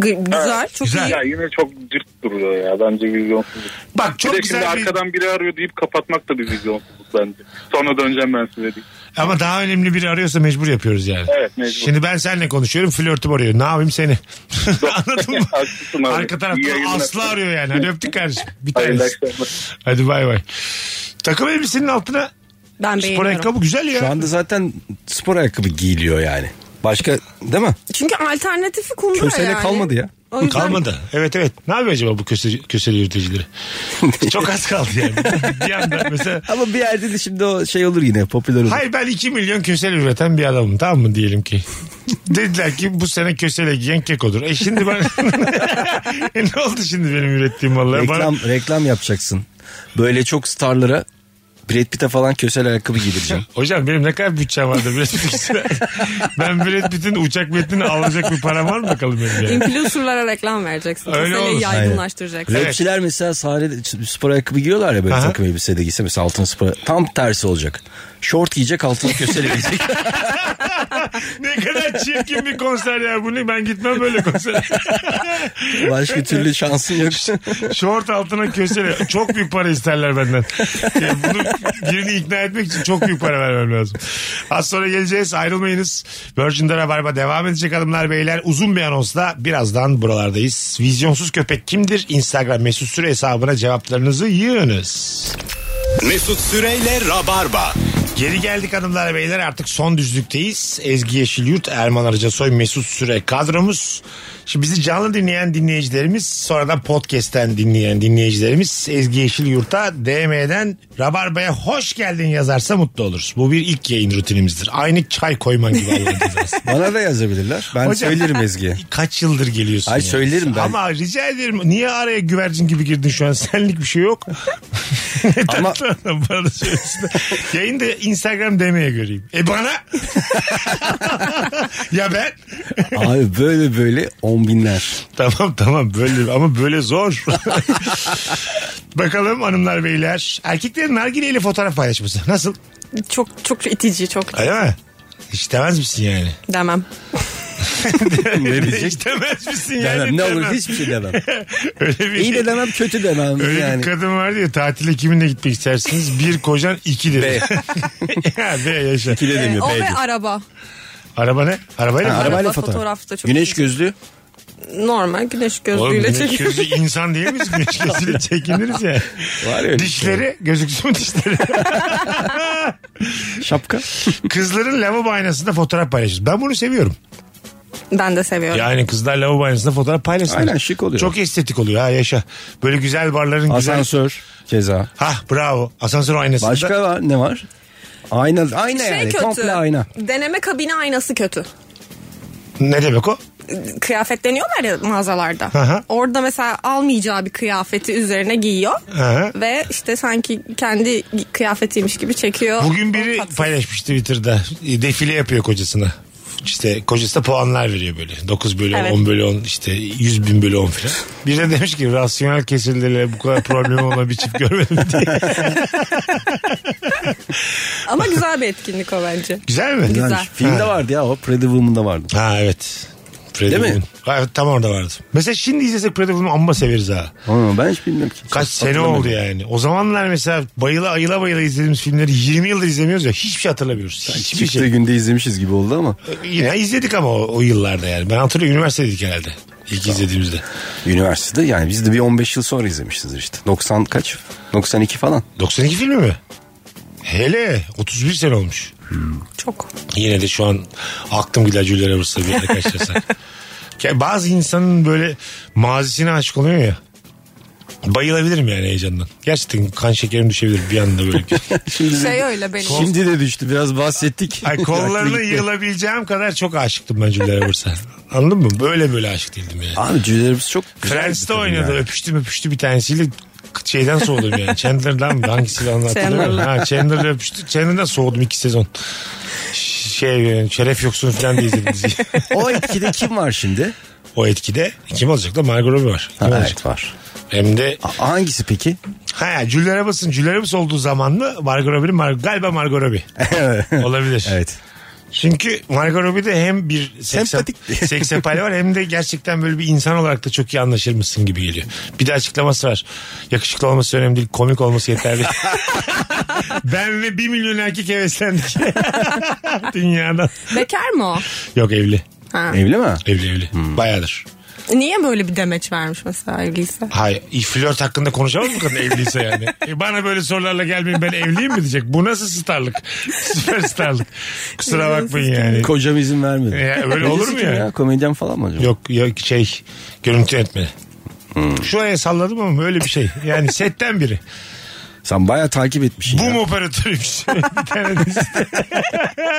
Speaker 5: Gı- güzel çok
Speaker 3: Güzel.
Speaker 5: iyi.
Speaker 8: Ya yine çok cırt duruyor ya. Bence vizyonsuzluk.
Speaker 3: Bak çok
Speaker 8: bir de
Speaker 3: güzel
Speaker 8: şimdi
Speaker 3: bir-
Speaker 8: arkadan biri arıyor deyip kapatmak da bir vizyonsuzluk bence. Sonra döneceğim ben size deyip.
Speaker 3: Ama daha önemli biri arıyorsa mecbur yapıyoruz yani.
Speaker 8: Evet, mecbur.
Speaker 3: Şimdi ben seninle konuşuyorum flörtüm arıyor. Ne yapayım seni? Anladın mı?
Speaker 8: Haklısın abi.
Speaker 3: Arka
Speaker 8: İyi
Speaker 3: tarafta
Speaker 8: yayınlar.
Speaker 3: Aslı arıyor yani. Hadi öptük kardeşim. Bir
Speaker 8: Hayırlı
Speaker 3: tanesi.
Speaker 8: akşamlar.
Speaker 3: Hadi bay bay. Takım elbisenin altına
Speaker 5: Ben
Speaker 3: spor
Speaker 5: beğeniyorum.
Speaker 3: ayakkabı güzel ya.
Speaker 4: Şu anda zaten spor ayakkabı giyiliyor yani. Başka değil mi?
Speaker 5: Çünkü alternatifi kundura
Speaker 4: Köseyle
Speaker 5: yani.
Speaker 4: kalmadı ya.
Speaker 5: O yüzden
Speaker 3: Kalmadı. Evet evet. Ne yapıyor acaba bu köse, köseli yürütecileri? Çok az kaldı yani. bir anda mesela
Speaker 4: Ama bir yerde de şimdi o şey olur yine popüler olur.
Speaker 3: Hayır ben 2 milyon kösel üreten bir adamım tamam mı diyelim ki. Dediler ki bu sene kösele giyen kekodur. E şimdi ben E ne oldu şimdi benim ürettiğim mallar?
Speaker 4: reklam
Speaker 3: Bana...
Speaker 4: reklam yapacaksın. Böyle çok starlara Brad Pitt'e falan kösel ayakkabı giydireceğim.
Speaker 3: Hocam benim ne kadar bütçem vardı Brad Pitt'e? ben Brad Pitt'in uçak metnini alacak bir param var mı bakalım benim yani?
Speaker 5: influencerlara reklam vereceksin.
Speaker 3: Öyle
Speaker 5: Köseleyi
Speaker 3: olur.
Speaker 5: yaygınlaştıracaksın.
Speaker 3: Evet.
Speaker 4: Rapçiler mesela sahnede spor ayakkabı giyiyorlar ya böyle
Speaker 3: Aha.
Speaker 4: takım elbise de giyse mesela altın spor tam tersi olacak. Şort giyecek altına kösele giyecek.
Speaker 3: ne kadar çirkin bir konser ya bu ne? Ben gitmem böyle konsere.
Speaker 4: Başka türlü şansın yok.
Speaker 3: Şort altına kösele. Çok büyük para isterler benden. Yani bunu birini ikna etmek için çok büyük para vermem lazım. Az sonra geleceğiz. Ayrılmayınız. Virgin'de Rabarba devam edecek hanımlar beyler. Uzun bir anonsla birazdan buralardayız. Vizyonsuz köpek kimdir? Instagram mesut süre hesabına cevaplarınızı yığınız.
Speaker 2: Mesut Süreyle Rabarba.
Speaker 3: Geri geldik hanımlar beyler artık son düzlükteyiz. Ezgi Yeşilyurt, Erman Arıcasoy, Mesut Süre kadromuz. Şimdi bizi canlı dinleyen dinleyicilerimiz sonradan podcast'ten dinleyen dinleyicilerimiz Ezgi Yeşilyurt'a DM'den Rabarba'ya hoş geldin yazarsa mutlu oluruz. Bu bir ilk yayın rutinimizdir. Aynı çay koyman gibi Allah'ın cezası.
Speaker 4: Bana da yazabilirler. Ben
Speaker 3: Hocam-
Speaker 4: söylerim Ezgi'ye.
Speaker 3: Kaç yıldır geliyorsun?
Speaker 4: Ay
Speaker 3: ya?
Speaker 4: söylerim ben.
Speaker 3: Ama rica ederim niye araya güvercin gibi girdin şu an senlik bir şey yok. ne
Speaker 4: Ama-
Speaker 3: tatlı adam bana da söylesin. Yayında Instagram demeye göreyim. E bana? ya ben?
Speaker 4: Abi böyle böyle on binler.
Speaker 3: tamam tamam böyle ama böyle zor. Bakalım hanımlar beyler. Erkeklerin nargileyle fotoğraf paylaşması. Nasıl?
Speaker 5: Çok çok itici çok
Speaker 3: Öyle mi? İstemez misin yani?
Speaker 5: demem.
Speaker 4: ne diyecek?
Speaker 3: İstemez misin yani?
Speaker 4: Demem. Ne olur
Speaker 3: Demem.
Speaker 4: hiçbir şey demem.
Speaker 3: Öyle bir
Speaker 4: İyi de demem kötü demem.
Speaker 3: Öyle
Speaker 4: yani.
Speaker 3: bir kadın vardı ya tatile kiminle gitmek istersiniz? Bir kocan iki dedi. ya be yaşa.
Speaker 4: İki de demiyor.
Speaker 3: Ee,
Speaker 5: o
Speaker 4: beydi.
Speaker 5: ve araba.
Speaker 3: Araba ne? Arabayla
Speaker 4: Ha,
Speaker 3: mı?
Speaker 4: arabayla
Speaker 5: Araba
Speaker 4: fotoğraf.
Speaker 5: fotoğraf da çok
Speaker 4: Güneş gözlü.
Speaker 5: normal güneş
Speaker 3: Oğlum
Speaker 5: gözlüğüyle
Speaker 3: güneş
Speaker 5: çekiyor.
Speaker 3: gözü insan değil miyiz? Güneş gözüyle çekiniriz ya.
Speaker 4: Var ya öyle şey.
Speaker 3: Dişleri gözüksün mü dişleri?
Speaker 4: Şapka.
Speaker 3: Kızların lavabo aynasında fotoğraf paylaşır. Ben bunu seviyorum.
Speaker 5: Ben de seviyorum.
Speaker 3: Yani kızlar lavabo aynasında fotoğraf paylaşsın.
Speaker 4: Aynen, şık oluyor.
Speaker 3: Çok estetik oluyor ha yaşa. Böyle güzel barların güzel.
Speaker 4: Asansör. Ceza.
Speaker 3: Ha bravo. Asansör aynasında.
Speaker 4: Başka var, ne var? Ayna. Ayna
Speaker 5: şey
Speaker 4: yani.
Speaker 5: kötü.
Speaker 4: Komple ayna.
Speaker 5: Deneme kabini aynası kötü.
Speaker 3: Ne demek o?
Speaker 5: Kıyafet deniyorlar ya mağazalarda.
Speaker 3: Aha.
Speaker 5: Orada mesela almayacağı bir kıyafeti üzerine giyiyor.
Speaker 3: Aha.
Speaker 5: Ve işte sanki kendi kıyafetiymiş gibi çekiyor.
Speaker 3: Bugün biri
Speaker 5: Tatsız.
Speaker 3: paylaşmış Twitter'da. E, Defile yapıyor kocasına. İşte kocası da puanlar veriyor böyle. 9 bölü 10,
Speaker 5: Evet.
Speaker 3: 10 bölü 10 işte 100 bin bölü 10 filan. Bir de demiş ki rasyonel kesildiler bu kadar problem olan bir çift görmedim diye.
Speaker 5: Ama güzel bir etkinlik o bence.
Speaker 3: Güzel mi?
Speaker 5: Güzel.
Speaker 4: Yani filmde
Speaker 3: Ha.
Speaker 4: vardı ya o Pretty Woman'da vardı.
Speaker 3: Ha evet. Freddy
Speaker 4: Değil mi?
Speaker 3: Woman. Ha, evet, tam orada vardı. Mesela şimdi izlesek Freddy Woman'ı amma severiz ha.
Speaker 4: Ama ben hiç bilmiyorum ki.
Speaker 3: Kaç sene
Speaker 4: Hatırlamıyorum.
Speaker 3: oldu yani. O zamanlar mesela bayıla ayıla bayıla izlediğimiz filmleri 20 yıldır izlemiyoruz ya. Hiçbir şey hatırlamıyoruz. Hiçbir
Speaker 4: Çıktığı
Speaker 3: şey.
Speaker 4: günde izlemişiz gibi oldu ama.
Speaker 3: Yine izledik ama o, o yıllarda yani. Ben hatırlıyorum üniversitedeydik herhalde. İlk izlediğimizde.
Speaker 4: Üniversitede yani biz de bir 15 yıl sonra izlemişizdir işte. 90 kaç? 92 falan.
Speaker 3: 92 filmi mi? Hele 31 sene olmuş.
Speaker 5: Çok.
Speaker 3: Yine de şu an aklım gidacüller arası bir yere kaçırsa. Ya bazı insanın böyle mazisine aşık oluyor ya. Bayılabilirim yani heyecandan. Gerçekten kan şekerim düşebilir bir anda böyle.
Speaker 4: Şimdi,
Speaker 5: Şey öyle benim.
Speaker 4: şimdi de düştü biraz bahsettik.
Speaker 3: Ay kollarına
Speaker 4: Aklı gitti.
Speaker 3: yığılabileceğim kadar çok aşıktım ben Julia Roberts'a. Anladın mı? Böyle böyle aşık değildim yani.
Speaker 4: Abi cücelerimiz çok güzel. bir
Speaker 3: Friends'te
Speaker 4: kadın
Speaker 3: oynadı.
Speaker 4: ya.
Speaker 3: Öpüştüm öpüştü bir tanesiyle şeyden soğudum yani. Chandler'dan mı? Hangisiyle anlattım?
Speaker 5: Chandler'la.
Speaker 3: Ha, Chandler'la öpüştü. Chandler'dan soğudum iki sezon. Ş- Şey yani, şeref yoksun falan diye izledim diziyi.
Speaker 4: O etkide kim var şimdi?
Speaker 3: O etkide kim olacak da Margot Robbie var. Kim
Speaker 4: Ha,
Speaker 3: olacak?
Speaker 4: evet var.
Speaker 3: Hem de
Speaker 4: A- Hangisi peki?
Speaker 3: ha Julia Roberts'ın Julia Roberts olduğu zaman mı Margot Robbie'nin Mar- galiba Margot Robbie olabilir.
Speaker 4: Evet.
Speaker 3: Çünkü Margot Robbie'de hem bir
Speaker 4: Sempatik.
Speaker 3: seksap- seksapal var hem de gerçekten böyle bir insan olarak da çok iyi anlaşır mısın gibi geliyor. Bir de açıklaması var. Yakışıklı olması önemli değil komik olması yeterli. ben ve bir milyon erkek heveslendik. Dünyadan.
Speaker 5: Bekar mı o?
Speaker 3: Yok evli.
Speaker 5: Ha.
Speaker 4: Evli mi?
Speaker 3: Evli evli. Bayağıdır.
Speaker 5: Niye böyle bir demeç vermiş mesela evliyse?
Speaker 3: Hay, e, flört hakkında konuşamaz mı kadın evliyse yani? E, bana böyle sorularla gelmeyin ben evliyim mi diyecek. Bu nasıl starlık? Süper starlık. Kusura bakmayın yani.
Speaker 4: Kocam izin vermedi.
Speaker 3: Ya, E, öyle olur mu
Speaker 4: Kim
Speaker 3: ya?
Speaker 4: Komedyen falan mı acaba?
Speaker 3: Yok yok şey görüntü yönetmeni. Şu aya salladım ama öyle bir şey. Yani setten biri.
Speaker 4: Sen bayağı takip etmişsin ya.
Speaker 3: Boom operatörüymüş. bir şey? tane dizide.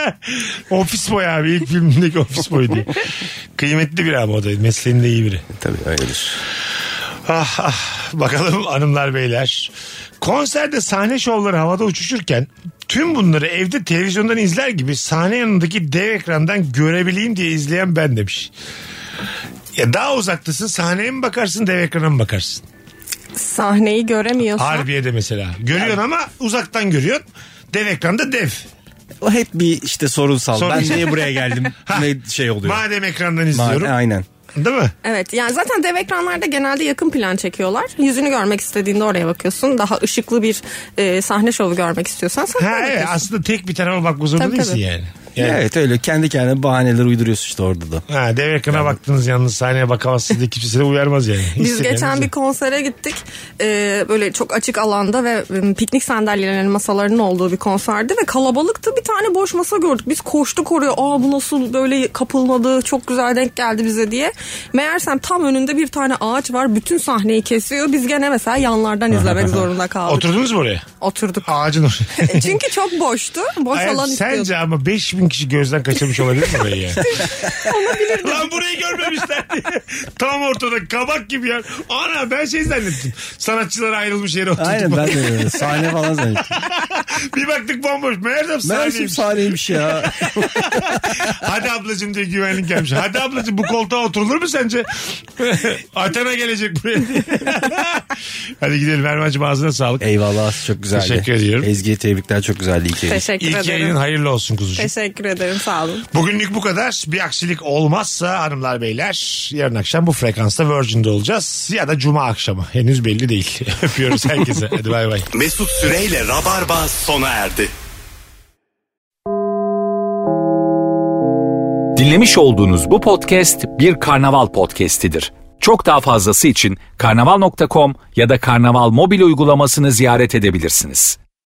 Speaker 3: ofis boy abi. ilk filmindeki ofis boy diye. Kıymetli bir abi o da. Mesleğinde iyi biri.
Speaker 4: Tabii öyledir.
Speaker 3: Ah, ah. Bakalım hanımlar beyler. Konserde sahne şovları havada uçuşurken tüm bunları evde televizyondan izler gibi sahne yanındaki dev ekrandan görebileyim diye izleyen ben demiş. Ya daha uzaktasın sahneye mi bakarsın dev ekrana mı bakarsın?
Speaker 5: Sahneyi göremiyorsa.
Speaker 3: Harbiye'de mesela. Görüyorsun ama uzaktan görüyorsun. Dev ekranda dev.
Speaker 4: O hep bir işte sorunsal.
Speaker 3: Sorun-
Speaker 4: Ben niye buraya geldim? ne şey oluyor?
Speaker 3: Madem ekrandan
Speaker 4: Ma-
Speaker 3: izliyorum.
Speaker 4: Aynen.
Speaker 3: Değil mi?
Speaker 5: Evet yani zaten dev ekranlarda genelde yakın plan çekiyorlar. Yüzünü görmek istediğinde oraya bakıyorsun. Daha ışıklı bir e, sahne şovu görmek istiyorsan
Speaker 3: Ha
Speaker 5: sahneye
Speaker 3: evet
Speaker 5: bakıyorsun.
Speaker 3: aslında tek bir tarafa bakmak zorunda
Speaker 5: Tabii,
Speaker 3: değilsin
Speaker 5: tabii.
Speaker 3: yani. Yani-
Speaker 4: Evet öyle kendi kendine bahaneler uyduruyorsun işte orada da.
Speaker 3: Ha, dev yakına baktınız yalnız sahneye bakamazsınız diye kimse de uyarmaz yani.
Speaker 5: Biz
Speaker 3: İsteyen
Speaker 5: geçen
Speaker 3: bize.
Speaker 5: bir konsere gittik. Ee, böyle çok açık alanda ve e, piknik sandalyelerinin masalarının olduğu bir konserdi ve kalabalıktı. Bir tane boş masa gördük. Biz koştuk oraya. Aa bu nasıl böyle kapılmadı. Çok güzel denk geldi bize diye. Meğersem tam önünde bir tane ağaç var. Bütün sahneyi kesiyor. Biz gene mesela yanlardan izlemek zorunda kaldık.
Speaker 3: Oturdunuz mu oraya?
Speaker 5: Oturduk.
Speaker 3: Ağacın oraya.
Speaker 5: E, Çünkü çok boştu. Boş
Speaker 3: Hayır,
Speaker 5: alan
Speaker 3: sence
Speaker 5: istiyorduk.
Speaker 3: ama 5000 kişi gözden kaçırmış olabilir mi orayı yani? Lan burayı görmemişler diye. Tam ortada kabak gibi ya. Ana ben şey zannettim. Sanatçılara ayrılmış yere oturduk.
Speaker 4: Aynen ben de öyle. Sahne falan zannettim.
Speaker 3: bir baktık bomboş. Meğersem
Speaker 4: Mersin
Speaker 3: sahneymiş.
Speaker 4: sahneymiş ya.
Speaker 3: Hadi ablacığım diye güvenlik gelmiş. Hadi ablacığım bu koltuğa oturulur mu sence? Athena gelecek buraya diye. Hadi gidelim Erman'cığım ağzına sağlık.
Speaker 4: Eyvallah çok güzeldi.
Speaker 3: Teşekkür ediyorum.
Speaker 4: Ezgi'ye tebrikler çok güzeldi. İyi ki.
Speaker 5: Teşekkür
Speaker 3: İlk
Speaker 5: ederim.
Speaker 3: yayının hayırlı olsun kuzucuğum.
Speaker 5: Teşekkür ederim. Sağ olun.
Speaker 3: Bugünlük bu kadar. Bir aksilik olmazsa hanımlar beyler yarın akşam bu frekansta Virgin'de olacağız. Ya da cuma akşamı. Henüz belli değil. Öpüyoruz herkese. Hadi bay bay.
Speaker 2: Mesut Süreyle Rabarba sona erdi.
Speaker 1: Dinlemiş olduğunuz bu podcast bir karnaval podcastidir. Çok daha fazlası için karnaval.com ya da karnaval mobil uygulamasını ziyaret edebilirsiniz.